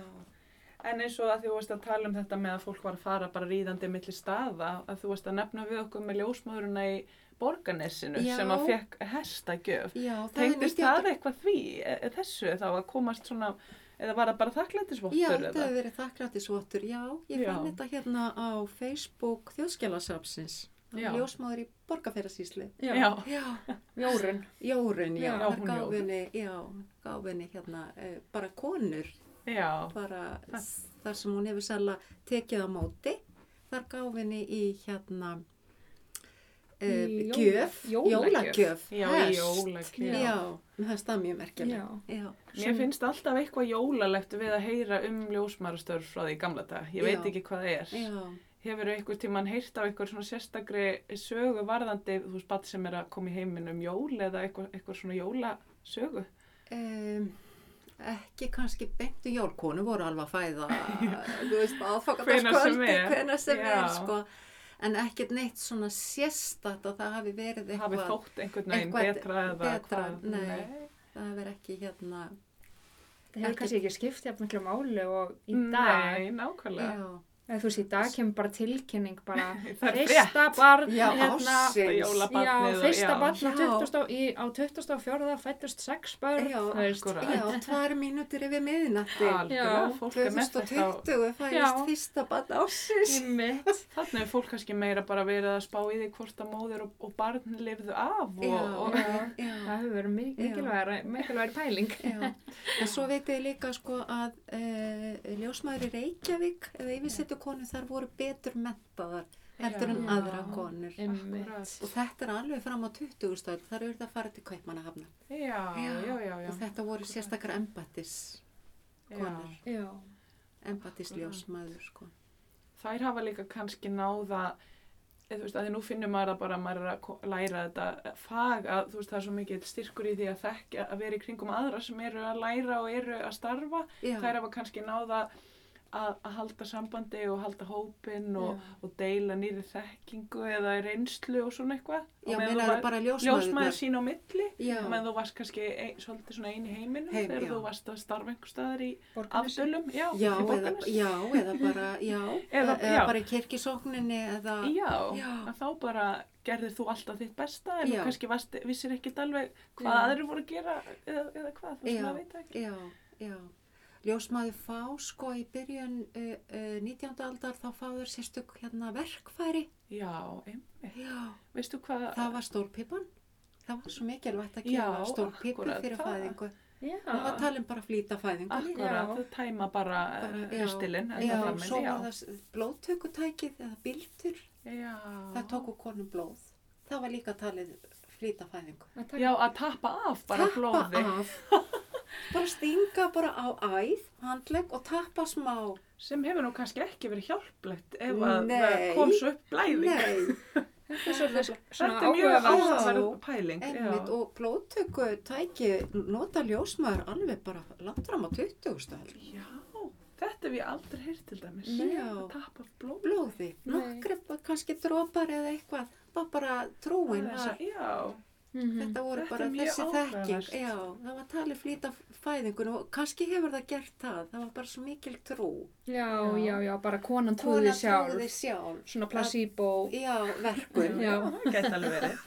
A: En eins og að því þú varst að tala um þetta með að fólk var að fara bara ríðandi milli staða, að þú varst að nefna við okkur með ljósmaðurina í borgarnesinu
C: Já.
A: sem að fekk hestagjöf.
C: já, það er
A: Tengdist það eitthvað því, e- e- þessu, þá að komast svona, eða var það bara þakklættisvottur?
C: Já,
A: eða?
C: þetta hefur verið þakklættisvottur, já, ég
A: Já.
C: fann þetta hérna á Facebook þjóðskjálasafsins,
A: Já. Oh.
C: ljósmáður í borgarferðarsýsli.
B: já,
C: Já,
B: jórun,
C: Jórun, já,
B: Já,
C: þar
A: hún
C: gaf
A: Jórunn.
C: henni, já, gaf henni hérna, eh, bara konur
A: Já,
C: bara
A: Það-
C: þar sem hún hefur sérlega tekið á móti þar gaf henni í hérna uh,
B: Í jóla-
C: gjöf,
B: jólagjöf.
C: jólagjöf,
A: Já, í
C: hest.
A: jólagjöf.
C: Já, það er mjög merkjulegt.
B: Já.
C: Já.
A: Mér finnst alltaf eitthvað jólalegt við að heyra um ljósmarastörf frá því í gamla dag. Ég veit
C: Já.
A: ekki hvað það er.
C: Já.
A: Hefur einhver tíman heyrt af einhver svona sérstakri sögu varðandi, þú veist, bat sem er að koma í heiminn um jól eða einhver, einhver svona jólasögu?
C: Um, ekki kannski beintu jólkonu voru alveg að
B: [laughs]
C: fæða þú
A: Hvenær
C: veist
A: sem
C: aðfokkataskvöldi
A: er.
C: hvenær sem
A: Já.
C: er sko en ekkert neitt svona sérstætt að það hafi verið
A: Hafi
C: eitthvað
A: þótt einhvern veginn
C: eitthvað
A: betra eða
C: betra,
A: hvað?
C: nei. það hafi verið ekki hérna
B: Það hefur
C: Ekki-
B: kannski ekki skipt jafn miklu máli og í dag.
A: Nei, nákvæmlega.
C: já,
B: Eða þú veist, í dag kemur bara tilkynning bara
A: [laughs] Það er
B: fyrsta barn,
C: já
B: hérna,
A: Fyrsta
C: ársins
B: já,
A: Jólabarnið og-
B: fyrsta
A: já.
B: barn á
C: Já.
B: 20 og- í- á 24. fættust sex barn,
C: Já,
B: þú veist.
A: akkúrat.
C: já, tvær mínútur yfir miðnatti
A: Algjörlega,
B: Já.
A: fólk er með þetta á
C: 2020
B: Já.
C: fæðist fyrsta barn ársins
B: Einmitt.
C: [laughs]
A: Þannig er fólk kannski meira bara verið að spá í því hvort að móðir og, og barn lifðu af
C: Já,
A: og, og
C: já, já.
B: Það hefur verið mik-
C: Já.
B: mikilvægari, mikilvægari pæling.
C: Já, en svo veit ég líka sko að e, ljósmaður í Reykjavík eða yfirsettu konur þar voru betur mentaðar heldur
B: Já.
C: en aðra konur.
B: [laughs] Einmitt.
A: Akkúrat.
C: Og þetta er alveg fram á 20. stöld, þar eru þetta að fara til kaupmannahafna.
A: já, já, já, já.
C: Og þetta voru
A: Akkúrat.
C: sérstakar embattis konur,
A: Já.
B: Já,
C: embattis ljósmaður sko.
A: Þær hafa líka kannski náða, eða þú veist, að því nú finnum maður að bara maður er að ko- læra þetta fag að þú veist, það er svo mikið styrkur í því að þekka, að vera í kringum aðra sem eru að læra og eru að starfa.
C: Já,
A: Þær hafa kannski náða að, að halda sambandi og halda hópin og, og deila nýri þekkingu eða reynslu og svona eitthvað. Og
C: já
A: meðan þú
C: meina
A: væ-
C: það bara
A: ljósmaður
C: ljósmaður.
A: sín á milli
C: Já,
A: menn þú varst kannski ein, svolítið svona eini heiminum
C: Heim,
A: þegar
C: já.
A: þú varst að starfa einhver staðar í
B: Borgarnesi.
A: afdölum já, í
C: já, eða,
A: Borgarnesi.
C: já, eða bara, já,
A: [laughs]
C: eða,
A: Eða- já.
C: bara í kirkisókninni eða,
A: já,
C: Já.
A: að þá bara gerðir þú alltaf þitt besta en
C: Já.
A: þú kannski varst, vissir ekkit alveg hvað
B: Já.
A: aðrir voru að gera eða, eða hvað, þú
C: Já.
A: veist maður veit það ekki
C: Já, já. Ljósmaður fá sko í byrjun uh, uh, 19. aldar þá fá þær sérstök hérna verkfæri.
A: já, einmitt,
C: Já.
A: veistu hvað
C: Það var stórpipan. Það var svo mikilvægt að
A: Já,
C: gefa stórpipu
A: akkúrat,
C: fyrir
A: það-
C: fæðingu.
B: Já.
C: Það var talin bara að flýta fæðingu.
A: akkurat, það tæma bara eh,
C: Bara, já.
A: hristilinn
C: Já, svo var það s- blóðtökutækið eða bildur.
A: já.
C: Það tóku konum blóð. Það var líka talið flýta fæðingu.
B: Að taka-
A: já, að tappa af bara
C: tappa
A: blóði
C: af. bara stinga bara á æð, handlegg og tappa smá.
A: sem hefur nú kannski ekki verið hjálplegt ef að
C: Nei.
A: það kom svo upp blæðing
C: Nei.
B: Þetta er svolítið svona
A: Þetta er mjög
B: áhugavert.
A: áhugaverð pæling.
C: Einmitt,
A: já.
C: og blóðtöku tæki nota ljósmaður alveg bara langt fram á 20. stöld.
A: já, þetta hef ég aldrei heyrt til dæmis.
C: Nei.
A: Að tappa blóð.
C: Blóði, nokkri kannski drópar eða eitthvað, var bara trúin
A: Aðeins
C: var.
A: að- Já,
B: Mhm.
C: Þetta voru
A: Mm. Þetta
C: bara
A: er mjög
C: þessi þekking,
A: áhugavert.
C: já, það var talið flýta fæðingunum og kannski hefur það gert það, það var bara svo mikil trú.
B: Já, já, já, bara konan trúði
C: Konan
B: sjálf.
C: trúði sjálf,
B: Svona placebo.
C: já, verkun,
B: Já.
A: það gæti alveg verið.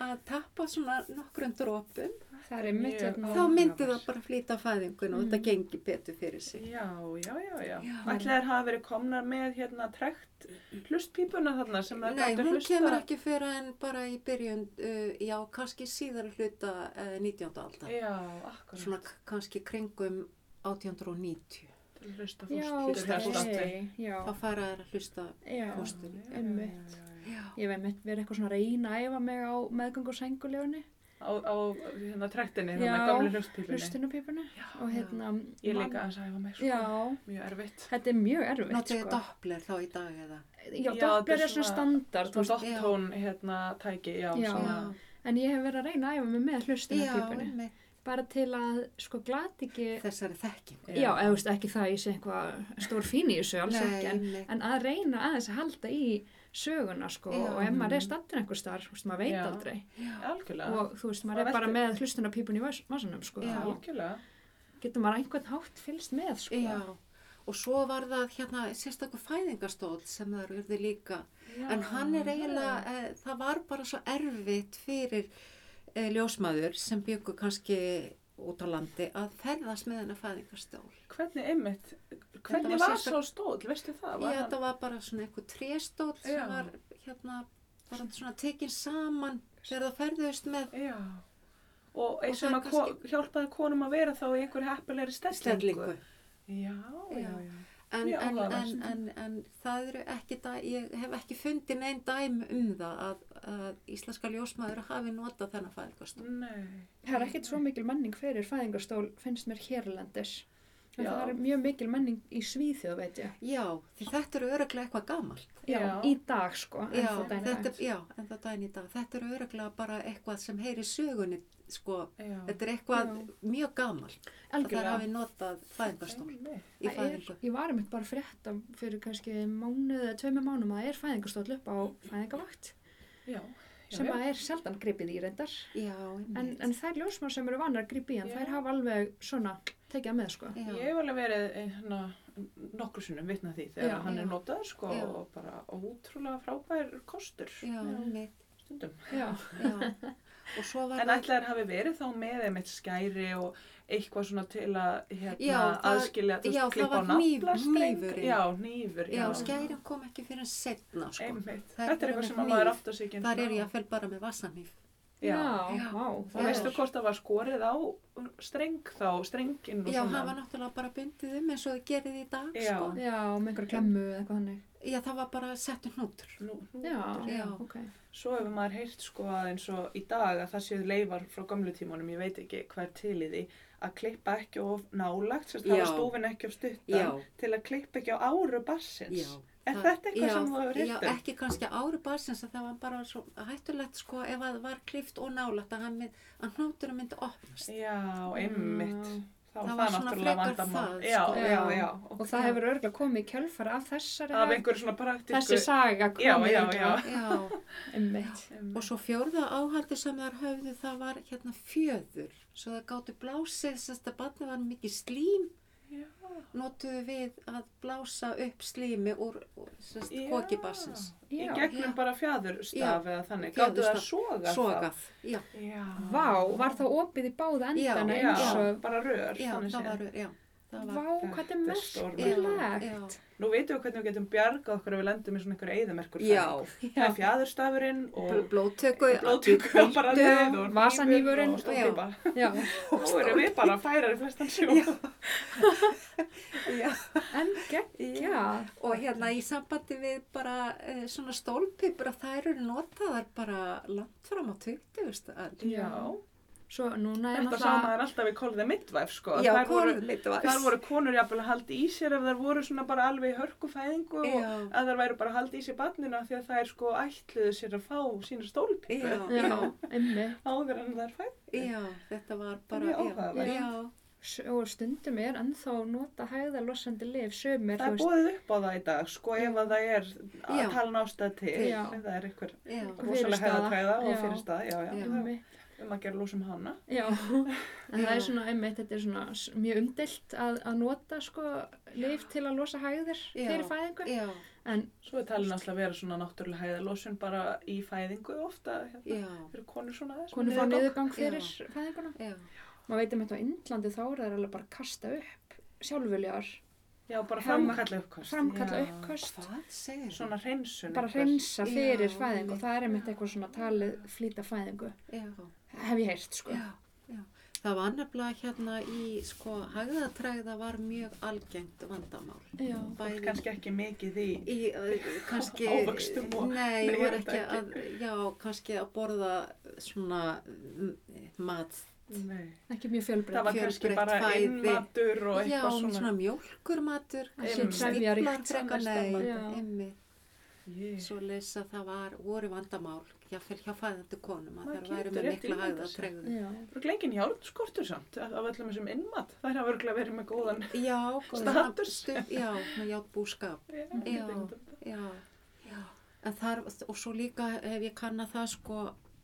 C: að tappa svona nokkrum drópum,
B: Það er mitt
A: Mjög
B: hérna.
C: þá
A: áhugavert.
C: myndi það bara flýta fæðingunum og
B: Mm.
C: þetta gengi betur fyrir sig.
A: Já, já, já, já.
C: Já.
A: Ætli þær hafa verið komnar með hérna trekt hlustpípuna þarna sem það
C: Nei,
A: gæti
C: hún
A: hlusta.
C: kemur ekki fyrir en bara í byrjun, uh, já, kannski síðar hluta uh, 19. aldar.
A: Já,
B: um
A: akkurat.
C: Svona k- kannski kringum 1890.
A: til að hlusta
B: Já,
A: fórst.
C: hlusta fórst.
B: ok, já,
C: Þá fara þær að hlusta.
B: já,
C: fórstu.
B: einmitt.
C: Já,
B: Ég hef einmitt verið eitthvað svona að reyna að æfa mig á meðgöngu og sengulegunni,
A: Á, á hérna trektinni,
B: Já.
A: hérna gamlu hlustpípunni.
B: hlustunupípunni og hérna...
A: Ég
B: man-
A: líka aðeins að hefa mig sko.
B: Já,
A: Mjög erfitt.
B: þetta er mjög erfitt,
C: notið þið
B: sko.
C: doppler þá í dag eða.
B: Já,
A: Já, þetta
B: dopplar
A: er
B: er svona
A: svona-
B: standard,
A: Svona
B: þú veist,
A: dottón hérna tæki, já,
B: Já.
A: svona.
B: en ég hef verið að reyna að æfa mig með
C: já
B: hlustunupípunni,
C: með
B: bara til að, sko, glati ekki...
C: þessari þekkingu.
B: Já, eða, þú veist, ekki það að ég sé eitthvað stór fín í þessu, alls
C: Nei,
B: ekki, en
C: einmitt.
B: en að reyna aðeins að halda í söguna sko
C: Já.
B: og ef maður er stattur einhver starf, þú veist, maður veit
A: Já.
B: aldrei
A: Algjörlega.
B: og þú veist, maður
A: Maður
B: er bara
A: veltir-
B: með hlustunarpípun í vas- vasanum sko,
C: Já.
B: þá
A: Algjörlega.
B: getur maður á einhvern hátt fylgst með sko.
C: Já, og svo var það hérna sérstakur fæðingastóll sem þær urði líka. en hann er eiginlega, e, það var bara svo erfitt fyrir e, ljósmaður sem byggur kannski út á landi að ferðast með hennar fæðingarstól.
A: Hvernig einmitt,
C: var
A: hvernig var
C: sérstök-
A: sá stóll, veistu það?
C: Ég,
A: Var
C: þetta var bara svona einhver tréstól sem
A: Já.
C: var hérna, bara svona tekin saman þegar það ferðuðist með
A: Já. Og,
C: Og
A: og sem að
C: það
A: kannski... hjálpaði konum að vera þá í einhver heppilegri stellingu.
C: stellingu.
A: Já, já,
C: Já.
A: já.
C: en,
D: Mjög
C: en, en,
D: áhugavert.
C: en, en það eru ekki dæ, ég hef ekki fundið neinn dæm um það að, að íslenska ljósmaður hafi notað
A: Mm.
C: þennan fæðingarstofn.
A: Nei.
B: Það er ekkert svo mikil menning fyrir fæðingarstól finnst mér hérlendis. En
A: Já.
B: það er mjög mikil menning í Svíþjóð, veit ég.
C: Já, því þetta eru öruglega eitthvað gamalt.
B: Já.
A: Já.
B: Í dag, sko.
C: Já,
B: ennþá daginn í
C: þetta,
B: dag.
C: já, en það dæn í dag. Þetta eru öruglega bara eitthvað sem heyri sögunni, sko.
A: Já.
C: Þetta er eitthvað mjög gamalt að það
B: Algjörlega.
C: hafi notað fæðingarstól
A: Einmitt.
C: í
B: Það er,
C: fæðingu.
B: ég var einmitt bara að frétta fyrir kannski mánuð eða tveimur mánum að það er fæðingarstóll upp á fæðingavakt
A: Já. Já,
B: sem
A: já.
B: að er sjaldan gripið í reyndar
C: Já,
B: en,
C: einmitt.
B: en þær ljósmar sem eru vanar að gripa í hann
A: Já.
B: þær hafa alveg svona tekið með sko
C: Já.
A: Ég hef alveg verið eh, hérna, nokkru sinnum vitna því þegar
B: Já.
A: hann
C: Já.
A: er notaður sko
C: Já.
A: og bara ótrúlega frábær kostur
C: Já, einmitt.
A: stundum.
B: Já,
C: Já,
B: [laughs]
C: og svo var
A: En ætlaður hafi verið þá með einmitt skæri og eitthvað svona til að hérna,
C: Já, það-
A: aðskilja, þú
C: já,
A: veist,
C: það
A: klippa á
C: var hníf-
A: naflastreng.
C: hnífurinn.
A: Já, nýfur, já.
C: Já, skærin kom ekki fyrir en setna, sko.
A: Einmitt.
C: Það er
A: Þetta er
C: bara
A: eitthvað sem
C: með
A: að maður
C: hníf.
A: aftur sig ekki. um. einu
C: Þar
A: sinni
C: er
A: á.
C: ég að fel bara með vassanýf.
A: Já.
B: já, vá,
A: Og
B: það
A: veistu
B: er
A: hvort það var skorið á streng þá, strenginn og
C: Já,
A: svona.
C: það var náttúrulega bara bundið um eins og þið gerðið í dag,
A: Já.
C: sko.
B: Já, með einhverja klemmu eða eitthvað hannig
C: Já, það var bara settur hnútur.
A: Nú, nú,
B: Já,
C: Já.
B: ok
A: Svo hefur maður heyrt sko að eins og í dag að það séu leifar frá gamlu tímanum, ég veit ekki hvað er til í því, að klippa ekki of nálagt, sérst
C: Já.
A: hafa stúfin ekki of stuttan,
C: Já.
A: til að klippa ekki á áru barsins.
C: Já.
A: Er
C: það-
A: þetta eitthvað
C: já,
A: sem þú hefur
C: Já,
A: heyrt um?
C: ekki kannski ári barsins að það var bara svo hættulegt, sko, ef að það var klift og nálægt að, hann mynd, að hnúturum myndi opnast.
A: Já, einmitt.
B: Já.
A: Þá
C: Það
A: það
C: var
A: var
C: svona
A: náttúrulega
C: frekar
A: vandamál.
C: það,
A: já,
C: sko.
A: já, já, já.
B: Og það hefur örgulega komið í kjölfara af þessari
A: Af einhverju svona praktísku.
B: þessi saga komið
A: Já, já,
B: líklega.
A: já.
C: Já,
B: Einmitt.
A: Einmitt.
C: og svo fjórða áhaldi sem þær höfðu, það var hérna fjöður. Svo það gáttu blásið, sérst að barni var mikið slím
A: Já.
C: notuðu við að blása upp slími úr
A: Já.
C: kokibassins.
A: Í
B: Já.
A: gegnum bara fjadurstaf eða þannig. Gáttu það að soga
C: Sogað. Já,
A: það? Já.
B: Vá, var það opið í báða
C: Já,
B: endana
A: Já,
B: eins og
A: bara rör.
C: já,
A: þannig
C: það
A: séð.
C: var, já, það
B: Vá,
C: var.
B: hvað þetta er
A: Þetta er stórmerkilegt.
B: merkilegt.
A: Nú veitum við hvernig við getum bjargað okkur ef við lendum í svona einhverja eyðamerkur. Það er fjæðurstafurinn og
C: blóttöku,
A: blóttöku og bara
C: bíldu,
A: leið og hnífur
B: vasanýfurinn
A: og stórbíba.
B: Já,
A: Nú erum við bara færar í flestan sjó.
C: Já. já,
B: en geggja.
C: og hérna í sambandi við bara uh, svona stólpipur að þær eru notaðar bara langt fram á 20, veistu, að
A: Já.
B: Svo núna er
A: Þetta sama er alltaf í Call the Midwife sko.
C: Já,
A: Þær voru-
C: konleitu
A: Þar voru konur jafnvel að halda í sér ef þær voru svona bara alveg í hörkufæðingu og
C: Já.
A: að þær væru bara að halda í sér barnina því að þær sko ætluðu sér að fá sína stólpípu
C: Já,
B: Já, emmi.
A: áður en þær fætt.
C: já, þetta var bara,
A: Mjög
C: já,
A: áhugavert.
C: já,
B: Og stundum er ennþá nota hæðalossandi lif sömur,
A: Það er bóðið upp á það í dag sko ef að það er
C: Já.
A: að tala nástað til.
C: Til.
B: Já.
A: Ef það er einhver
C: já,
A: rosalega
B: Fyrirstaða.
A: hefðakvæða
B: Já.
A: og fyrirstaða, já, já,
C: Já.
B: Emmi.
A: um að gera lúsum hana.
B: Já, en það
C: Já.
B: er svona, einmitt, þetta er svona s- mjög umdelt að, að nota sko lif til að losa hæðir
C: Já.
B: fyrir fæðingu.
C: já,
B: En
A: Svo er talin alltaf að vera svona náttúrulega hæðalósun bara í fæðingu ofta, hérna,
C: já,
A: fyrir konur svona þess.
B: konur fá
A: niðurgang.
B: niðurgang fyrir
C: Já.
B: fæðinguna.
C: já.
B: Maður veit um þetta á Indlandi þá eru þær alveg bara að kasta upp sjálfurlegar,
A: Já, bara
B: Hefma-
A: framkalla uppkast.
B: framkalla
A: Já.
B: uppköst,
C: Hvað segir þú?
A: Svona hreinsun.
B: bara
A: einhvers.
B: hreinsa
C: Já,
B: fyrir fæðingu
C: einmitt.
B: og það er einmitt eitthvað svona talið flýta fæðingu.
C: Já,
B: Hef ég heyrt sko.
C: já, já. Það var nefnilega hérna í, sko, hagðatræða var mjög algengt vandamál.
B: Já.
A: Fólk kannski ekki mikið í.
C: í, eh, kannski,
A: [laughs] Ávöxtum og-
C: nei,
A: Nei,
C: nei
A: ég
C: var
A: veit ekki.
C: ekki að, já, kannski að borða svona mm, mat.
A: Nei.
B: Ekki mjög
A: Það
B: fjölbreytt.
A: var kannski
C: Fjölbreytt
A: bara
C: fæði.
A: innmatur og
C: Já,
A: eitthvað
C: svona,
A: svona.
C: mjólkurmatur,
B: Ekki
A: Einmitt.
B: sefjaríkt.
C: frekar,
A: annars
C: nei,
B: staðar. Já.
C: emmi.
A: Ég-
C: Svo lesa það var, voru vandamál, já, fyrir hjá fæðandi konum, að
A: Maður
C: það væri
A: getur
C: með
A: rétt
C: mikla
A: ímyndað sér.
C: hagðatræðu.
B: Já.
A: Það voru engin hjálpskortur samt af af öllum þessum innmat. Það er að örgulega verið með góðan. [laughs]
C: Já,
A: Status.
C: Stund, já, með játbúskap. Já. Já. já. En þar, og svo líka hef ég kannað það sko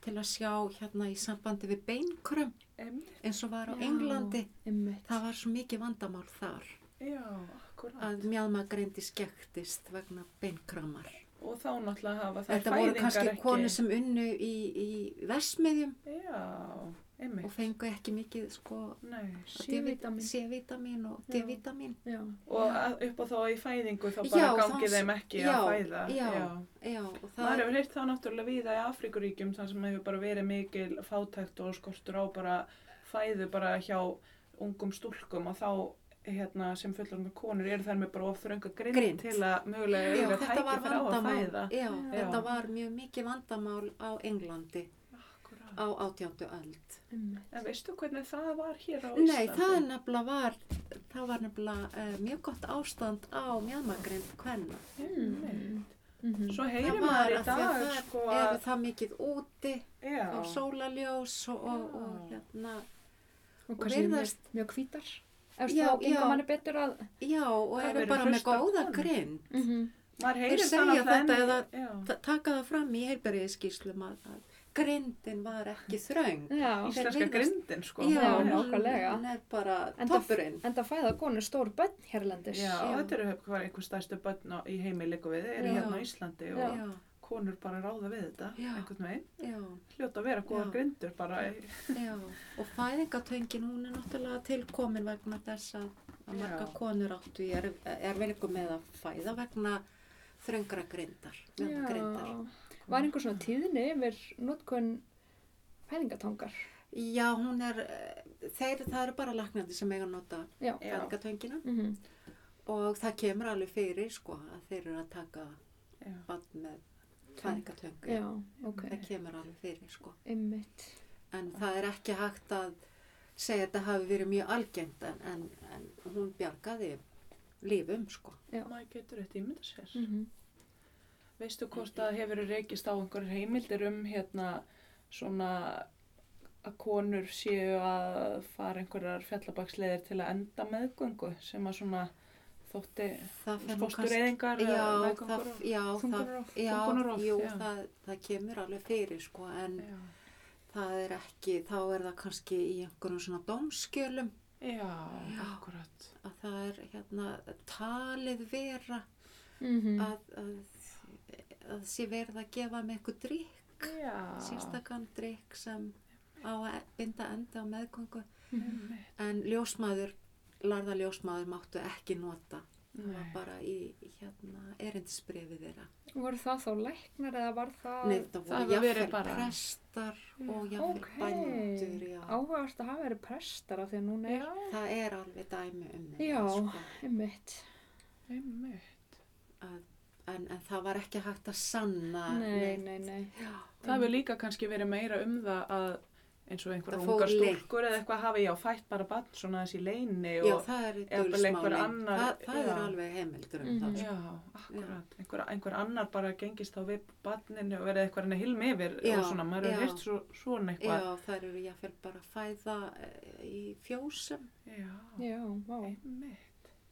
C: til að sjá hérna í sambandi við beinkrum
A: Einmitt.
C: eins og var á
B: Já.
C: Englandi.
B: Einmitt.
C: Það var svo mikið vandamál þar
A: Já, akkurat.
C: að mjálmagreindi skektist vegna beinkramar.
A: Og þá náttúrulega hafa það
C: Þetta voru kannski konur sem unnu í, í versmiðjum
A: Já, einmitt.
C: og fengu ekki mikið sko
A: Nei.
B: C-vítamín.
C: C-vitamin og
B: Já.
C: D-vitamin.
B: Já.
A: Og að- upp á þá í fæðingu þá bara
C: Já,
A: gangi
C: þá-
A: þeim ekki
C: já,
A: að fæða.
C: já. Já, og
A: Maður
C: það,
A: hefur heyrt það náttúrulega víða í Afrikuríkjum þar sem hefur bara verið mikil fátækt og skortur á bara fæðu bara hjá ungum stúlkum og þá hérna, sem fullorðna konur eru þær með bara of þrönga grind,
C: Grind.
A: til að mögulega
C: Já,
A: eiga
C: þetta var
A: tækifæri á að
C: vandamál,
A: fæða.
C: já,
B: Já.
C: þetta var mjög mikið vandamál á Englandi
A: Akkúrat.
C: á átjándu öld.
A: En veistu hvernig það var hér á
C: Nei,
A: Íslandi?
C: það er nefnilega var, það var nefnilega uh, mjög gott ástand á mjöðmagrind hvenna.
A: Einmitt.
B: Mhm.
A: Svo
C: Það
A: heyrir
C: var
A: maður í
C: af því að
A: dag
C: það
A: sko
C: eru
A: að...
C: það mikið úti
A: Já,
C: á sólaljós og, og, og
A: Já.
C: hérna,
B: Og kannski mjög,
C: virðast-
B: mjög hvítar. Ef
C: Já,
B: það
C: já.
B: gengur manni betur að...
C: já, og
A: Það
C: eru
A: eru
C: bara með
A: hraustar
C: góða
A: konur.
C: grind.
A: maður heyrir
C: segja
A: það náttúrulega
C: þetta
A: enn- Já.
C: Ta taka það fram í heilberiðskíslum að, að grindin var ekki þröng.
B: Já.
A: Íslenska
C: virðast-
A: grindin sko.
C: já,
B: Já,
A: já.
B: nákvæmlega.
C: hún er bara
B: En það-
C: toppurinn.
B: En það fæða konu stór bönn hérlendis.
A: Já,
C: Já.
A: þetta eru hvað einhver stærstu börn á- í heimi líka við, eru
C: Já.
A: hérna á Íslandi og
C: Já,
A: konur bara ráða við þetta,
C: Já.
A: einhvern veginn.
C: já,
A: Hljóta að vera góða
C: Já.
A: grindur bara. í-
C: já. Og fæðingatöngin hún er náttúrulega tilkomin vegna þess að að marga
A: Já.
C: konur áttu í er, erfinningum með að fæða vegna þröngra grindar. mjög grindar.
B: Var einhver svona tíðni yfir notkun fæðingatangar?
C: Já, hún er, eh, þeir, það eru bara laknandi sem eiga að nota
B: Já.
A: Já.
C: fæðingatöngina
B: Mm
C: og það kemur alveg fyrir sko að þeir eru að taka
A: Já.
C: vatn með fæðingatöng.
B: Já, ok.
C: Það kemur alveg fyrir sko.
B: Einmitt.
C: En það er ekki hægt að segja að þetta hafi verið mjög algengt en, en, en hún bjargaði lífum sko.
A: Maður getur þetta ímynda sér.
B: Mm
A: Veistu hvort að hefur reykist á einhverjar heimildir um hérna svona að konur séu að fara einhverjar fjallabaksleiðir til að enda meðgöngu sem að svona þótti
C: Það fer nú kannski-
A: fóstureyðingar
C: Já,
A: eða
C: það,
A: meðgöngur og-
C: já, það,
A: þungunarrof,
C: já,
A: þungunarrof,
C: jú,
A: já.
C: Það, það kemur alveg fyrir sko en
A: Já.
C: það er ekki, þá er það kannski í einhverjum svona dómskjölum
A: Já,
C: Já.
A: akkurat.
C: að það er hérna talið vera
B: -hmm.
C: að, að, að sé verið að gefa með eitthvað drikk,
A: Já.
C: sérstakann drikk sem á að e- binda enda á meðgöngu
A: Einmitt.
C: En ljósmaður, larða ljósmaður máttu ekki nota. Það var
A: Nei.
C: bara í hérna, erindisbrefið þeirra.
B: Voru það þá læknar eða var það...
C: Nei,
A: það
C: það voru
A: hefur verið
C: jafnvel
A: bara-
C: prestar og jafnvel
B: Ok.
C: bændur. Já.
B: Áhugast að hafa verið prestar af því að núna er...
A: Já,
C: Það er alveg dæmi um þetta.
B: Já.
C: Sko.
B: Einmitt.
A: einmitt.
C: Að, en, en það var ekki hægt að sanna.
B: Nei,
C: neitt.
B: nei, nei.
C: Já,
A: Það hefur líka kannski verið meira um það að eins og einhverja
C: Það fór
A: ungar
C: leynt.
A: stúlkur eða eitthvað hafi já fætt bara bann svona þessi leini
C: já,
A: og
C: það er
A: jafnvel einhver
C: dulsmálinn.
A: annar-
C: Það, það er
A: já.
C: alveg heimildur um
B: Mhm.
C: það.
A: Já, akkurat. Einhver, einhver annar bara gengist þá við barninu og verið eitthvað henni hilmi yfir
C: Já,
A: og svona, maður
C: já.
A: hefur heyrt svo, svona
C: Já,
A: eitthvað.
C: það eru jáfnvel bara að fæða eh, í fjósum.
A: Já,
B: Já, vá.
A: einmitt.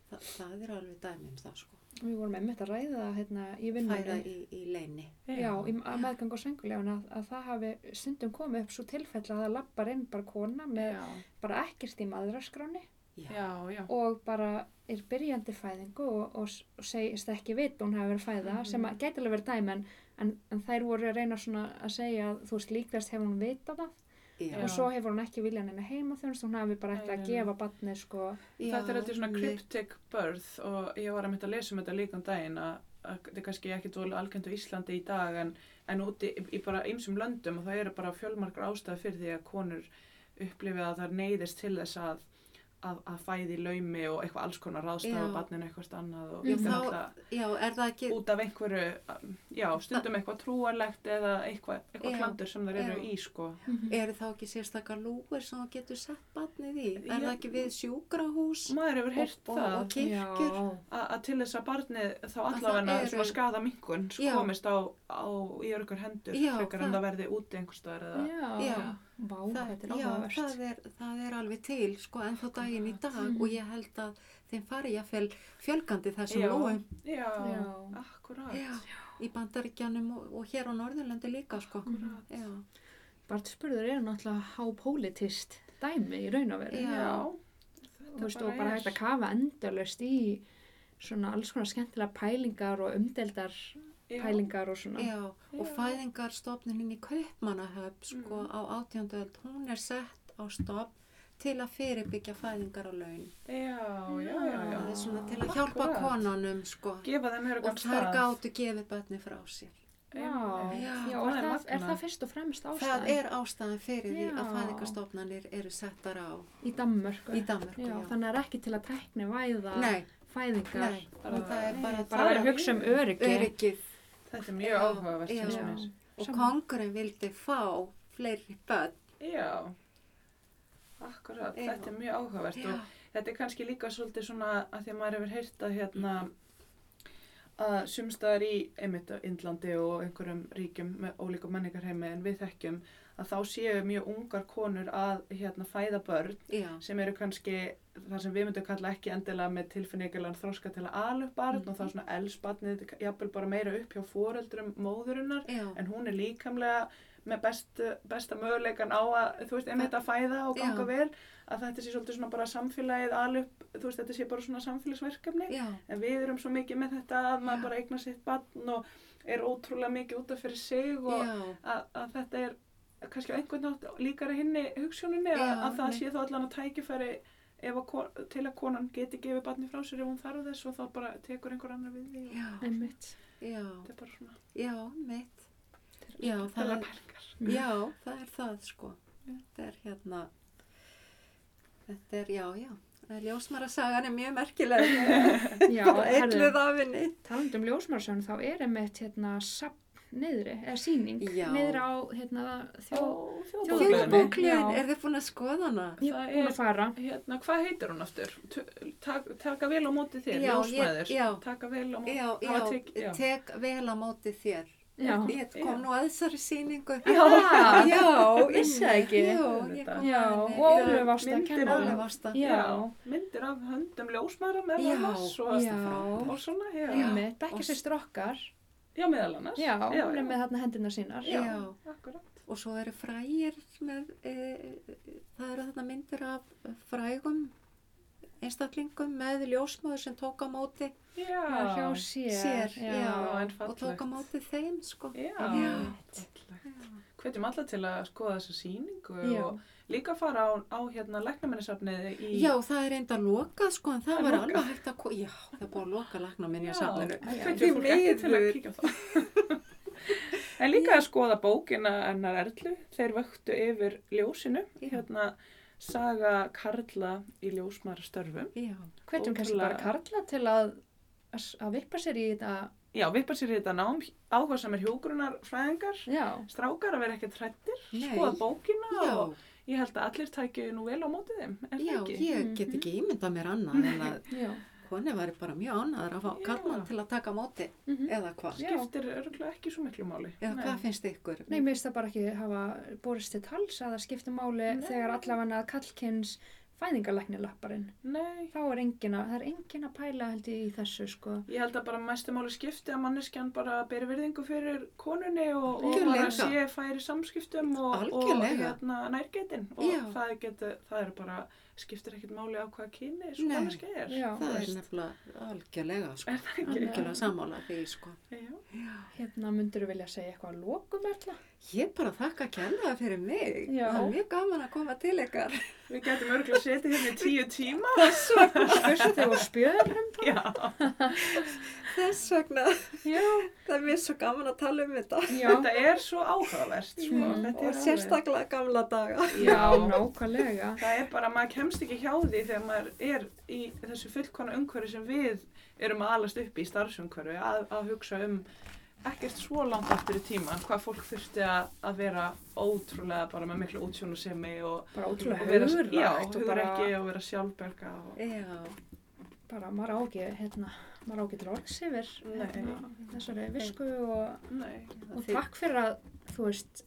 C: Það, það er alveg dæmi um það, sko.
B: Við vorum einmitt að ræða það hérna í vinnunni.
C: Fæða í, í leini.
B: Já, í að meðgang og senguljána að, að það hafi stundum komið upp svo tilfell að það lappar inn bara kona með
A: Já,
B: bara ekkert í maðuraskráni
A: já, já.
B: og bara er byrjandi fæðingu og, og, s- og segist ekki vit hún hafi verið fæða
A: Mhm.
B: sem að gæti alveg verið dæmi en, en, en þær voru að reyna svona að segja að þú veist líklegast hefur hún vitað það
C: Já.
B: og svo hefur hún ekki viljað henni heima þjónust hún hafi bara ætlað
A: Nei,
B: að
A: nei, nei.
B: gefa barnið sko
A: Þetta er þetta svona
C: einmitt.
A: cryptic birth og ég var að mynda að lesa um þetta líka um daginn að að þetta er kannski ekki dvólu algjönd á Íslandi í dag en, en úti í, í bara ýmsum löndum og það eru bara fjölmarkar ástæði fyrir því að konur upplifið að það neyðist til þess að, að, að fæði laumi og eitthvað alls konar ráðstafa
C: Já.
A: barninu eitthvað annað og
B: Já,
A: þetta er
C: þá-
A: náttúrulega-
C: Já, er það ekki,
A: út af einhverju, um, já, stundum eitthvað trúarlegt eða eitthvað, eitthvað
C: Já,
A: klandur sem þær eru
C: já.
A: í, sko.
C: eru þá ekki sérstakar lúgur sem þú getur sett batnið í? Er
A: Já.
C: það ekki við sjúkrahús
A: Maður hefur heyrt
C: og,
A: það
C: og kirkjur?
B: Já,
A: a- að til þess að barnið þá
C: það
A: allavega
C: eru-
A: svona skaða minkun
C: Já.
A: komist á, á í örgur hendur
C: Já,
A: frekar en
C: það-
A: það verði úti einhverstaðar eða
B: já.
C: Já.
B: Vá,
C: Það,
B: þetta er
C: já,
B: áhugavert
C: það er, það er alveg til, sko, en þá daginn í dag
A: Mm.
B: Mhm.
C: og ég held að þeim fari jafnvel fjölgandi þessum
A: Já.
C: lóum
A: Já,
B: Já.
A: akkurat.
C: Já. í bandaríkjanum og, og hér á Norðurlandi líka, sko.
A: Akkúrat.
C: Já,
B: Bartspurður eru náttúrulega hápólitist dæmi í raun og veru.
C: Já.
B: Þú veist, og bara hægt að kafa endalust í svona alls konar skemmtilega pælingar og umdeldar pælingar og svona.
C: já, og
A: Já.
C: fæðingarstofnunin í Kaupmannahöf, sko,
B: Mm.
A: Mhm.
C: á átjönduöld, hún er sett á stofn til að fyrirbyggja fæðingar á laun.
A: Já, já, já, já.
C: Það er svona til að hjálpa
A: Akkurat.
C: konunum sko
A: Gefa þeim
C: og
A: öruggan
C: þær
A: stað.
C: gátu gefið börni frá sér.
B: Já,
A: Einmitt.
C: Já,
B: og
A: það er
B: það, er það fyrst og fremst ástæðan?
C: Það er ástæðan fyrir því að
B: Já.
C: fæðingarstofnanir eru settar á
B: Í Danmörku.
C: í Danmörku.
B: Já, þannig er ekki til að tekni væða
C: Nei,
B: fæðingar.
C: nei, og það er bara,
B: Bara að hugsa um öryggi.
C: öryggið
A: Þetta er mjög
C: Já,
A: áhugavert
C: já.
A: finnst mér.
C: og
B: Saman.
C: kongurinn vildi fá fleiri börn.
A: Já, akkurat,
C: Já.
A: þetta er mjög áhugavert
C: Já,
A: og þetta er kannski líka svolítið svona að því að maður hefur heyrt að hérna að sumstaðar í einmitt á Indlandi og einhverjum ríkjum með ólíka menningarheimi en við þekkjum að þá séu mjög ungar konur að hérna fæða börn
C: já,
A: sem eru kannski þar sem við myndum kalla ekki endilega með tilfinningilegan þroska til að ala upp barn og þá svona elsbarnið, jafnvel bara meira upp hjá foreldrum móðurinnar
C: já,
A: en hún er líkamlega með best, besta möguleikan á að, þú veist, einmitt að fæða og ganga
C: Já.
A: vel, að þetta sé svolítið svona bara samfélagið alup, þú veist, þetta sé bara svona samfélagsverkefni,
C: já,
A: en við erum svo mikið með þetta að maður bara eignar sitt barn og er ótrúlega mikið út af fyrir sig og
C: já,
A: að, að þetta er kannski á einhvern nátt líkara hinni hugsuninni að,
C: Já,
A: að það
C: nei.
A: sé þá allan að tækifæri ef að, kon- til að konan geti gefið barni frá sér ef hún þarf þess og þá bara tekur einhver annar við því og
C: já, [laughs]
B: Einmitt.
C: já,
A: þetta er bara svona,
C: já, mitt. Já, það
A: það
C: er,
A: er perkar.
C: já, það er það sko. Þetta er hérna, þetta er, já, já, ljósmarasagan er mjög merkileg.
B: [laughs] Já,
C: bara
B: herðu,
C: eitthvað af henni.
B: talandu um ljósmarsjón, þá er einmitt hérna sapn niðri, eða síning,
C: Já.
B: niðri á hérna þjó...
A: Ó,
B: Þjóðbóklinni.
A: þjóðbóklinni.
C: Þjóðbókliðin,
B: Já.
C: er þið búin að skoða hana?
B: Ég
A: það
B: er búin
A: er-
B: að fara.
A: Hérna, hvað heitir hún aftur? Tu- Tak, taka vel á móti þér,
C: Já,
A: ljósmæður.
C: ég- já.
A: Taka vel á móti
C: Já,
A: það
C: já,
A: var tek- já. [laughs]
C: tek vel á móti þér.
B: Já.
C: Ég kom
A: Já.
C: nú að þessari sýningu.
B: Ah,
C: já,
B: vissi það ekki.
C: Jú, ég kom
B: Já,
C: að
B: og
C: henni.
B: Ólu varst að
A: myndir
B: kenna.
A: af-
C: Óli
B: honum.
C: varst að.
B: Já.
A: Myndir af höndum ljósmæðra meðal
C: Já,
A: annars og,
C: varst að fara.
B: Já.
A: og svona, já. Já,
B: Einmitt, bekkjarsystur okkar.
A: meðal annars.
B: Já,
A: já,
B: hún er með þarna hendunar sínar.
C: Já.
A: akkurat.
C: Og svo eru frægir með, e, það eru þarna myndir af frægum einstaklingum með ljósmóður sem tók á móti
A: Já,
B: Það er hjá sér.
C: sér já,
A: en
C: og tók á
A: fallegt.
C: móti þeim sko.
A: já,
C: Já.
A: fallegt. Hvetjum alla til að skoða þessa sýningu
B: Já.
A: og líka fara á, á hérna læknamennisafnið í...
C: Já, það er enda lokað sko en það
A: Það er
C: var
A: lokað.
C: alveg hægt að, ko- já, það er búið að loka lakna minni
A: Já,
C: að safninu.
A: það
C: Því
A: hvetjum fólk ekki til að
C: miður.
A: kíkja á það. [laughs] en líka að skoða bókina hennar Erlu, þeir vöktu yfir ljósinu,
C: Já.
A: hérna saga Karla í ljósmarastörfum.
C: Já,
B: Hvernig kannski bara karla til að, að vippa sér í þetta,
A: Já, viðbar sér í þetta nám, áhuga sem er hjúgrunar fræðingar,
B: já,
A: strákar að vera ekkert hrættir,
C: Nei.
A: skoða bókina
C: já,
A: og ég held að allir tækju nú vel á mótið þeim, er
C: já,
A: það ekki? Mhm.
C: ég get ekki ímyndað mér annað en að
B: já,
C: koni væri bara mjög ánæður að fá
A: Já.
C: karlmann til að taka á móti
B: mhm.
C: eða hvað.
B: Já.
A: Skiptir örgulega ekki svo miklu máli.
C: Eða
A: Nei.
C: hvað finnst ykkur?
B: Nei, mér finnst það bara ekki hafa borist til tals að það skipti máli
A: Nei.
B: þegar allavega kallkynns fæðingalækni lapparinn.
A: Nei,
B: Þá er engin að, það er engin að pæla held ég í þessu sko.
A: Ég held að bara mestu máli skipti að manneskjan bara beri virðingu fyrir konunni og, og
C: Algjörlega.
A: bara sé færi samskiptum og, og
C: Algjörlega.
A: hérna, nærgetin
C: Já.
A: og það, get, það er bara, skiptir ekkert máli á hvaða kyni svo
C: Nei.
A: manneskja er.
B: Já,
C: Það er
A: veist.
C: nefnilega algjörlega, sko.
A: Er það ekki?
C: Algjörlega sammála því, sko.
A: Já.
B: hérna myndur þú vilja segja eitthvað að lókum alltaf?
C: Ég bara þakka kærlega fyrir mig.
B: Já.
C: Það er mjög gaman að koma til ykkar. [laughs]
A: Við getum örgulega setið hérna í tíu tíma.
B: Spurstu og spjöðum?
A: Já.
C: Þess vegna,
B: Já,
C: það er mér svo gaman að tala um þetta.
B: já,
A: Þetta er svo áhugavert. Sko.
B: Mm.
A: Þetta er
C: Og
A: alveg-
C: sérstaklega gamla daga.
B: já,
A: Já.
B: nákvæmlega.
A: Það er bara, maður kemst ekki hjá því þegar maður er í þessu fullkona umhverfi sem við erum að alast upp í starfsumhverfi að, að hugsa um ekkert svo langt aftur í tíman hvað fólk þurfti að, að vera ótrúlega bara með miklu útsjónusemi og,
B: Bara
A: og
B: ótrúlega
A: vera,
B: hugrægt
A: já,
B: og
A: hugur
B: bara,
A: ekki og vera sjálfberga og,
C: Já,
B: bara maður á ekki, hérna, maður á ekki dróks yfir
A: Nei.
B: hérna, þessari visku og
A: nei,
B: og takk fyrir að þú veist,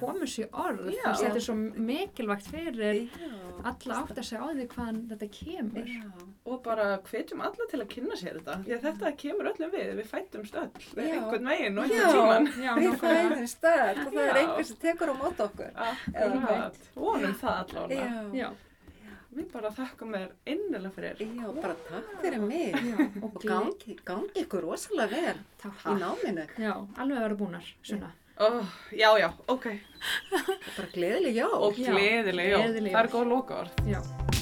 B: komu sér orð
A: Já.
B: þú veist, þetta er svo mikilvægt fyrir
C: Já.
B: alla átt að segja á því hvaðan þetta kemur
C: Já.
A: og bara hvetjum alla til að kynna sér þetta því að þetta kemur öllum við, við fættumst öll við
C: Já.
A: einhvern veginn og
C: Já.
A: einhvern tíman
B: já,
C: Við
B: nákvæmlega
C: fæðum stöð og það er
A: Já.
C: einhver sem tekur á mót okkur.
A: Akkurat, vonum það allavega
C: Já.
B: já,
A: Við bara þakkum þér innilega fyrir
C: Já, bara takk fyrir mig.
B: já,
C: Og
B: og gleð
C: gangi, gangi ykkur rosalega vel
B: takk,
C: í náminu.
B: já, alveg að vera búnar svona,
A: Oh, já, já, ok.
C: Bara gleðileg jól.
A: Og
B: Já,
A: gleðileg, já.
B: gleðileg
A: Það er
B: jól.
A: góð lokaorð.
B: já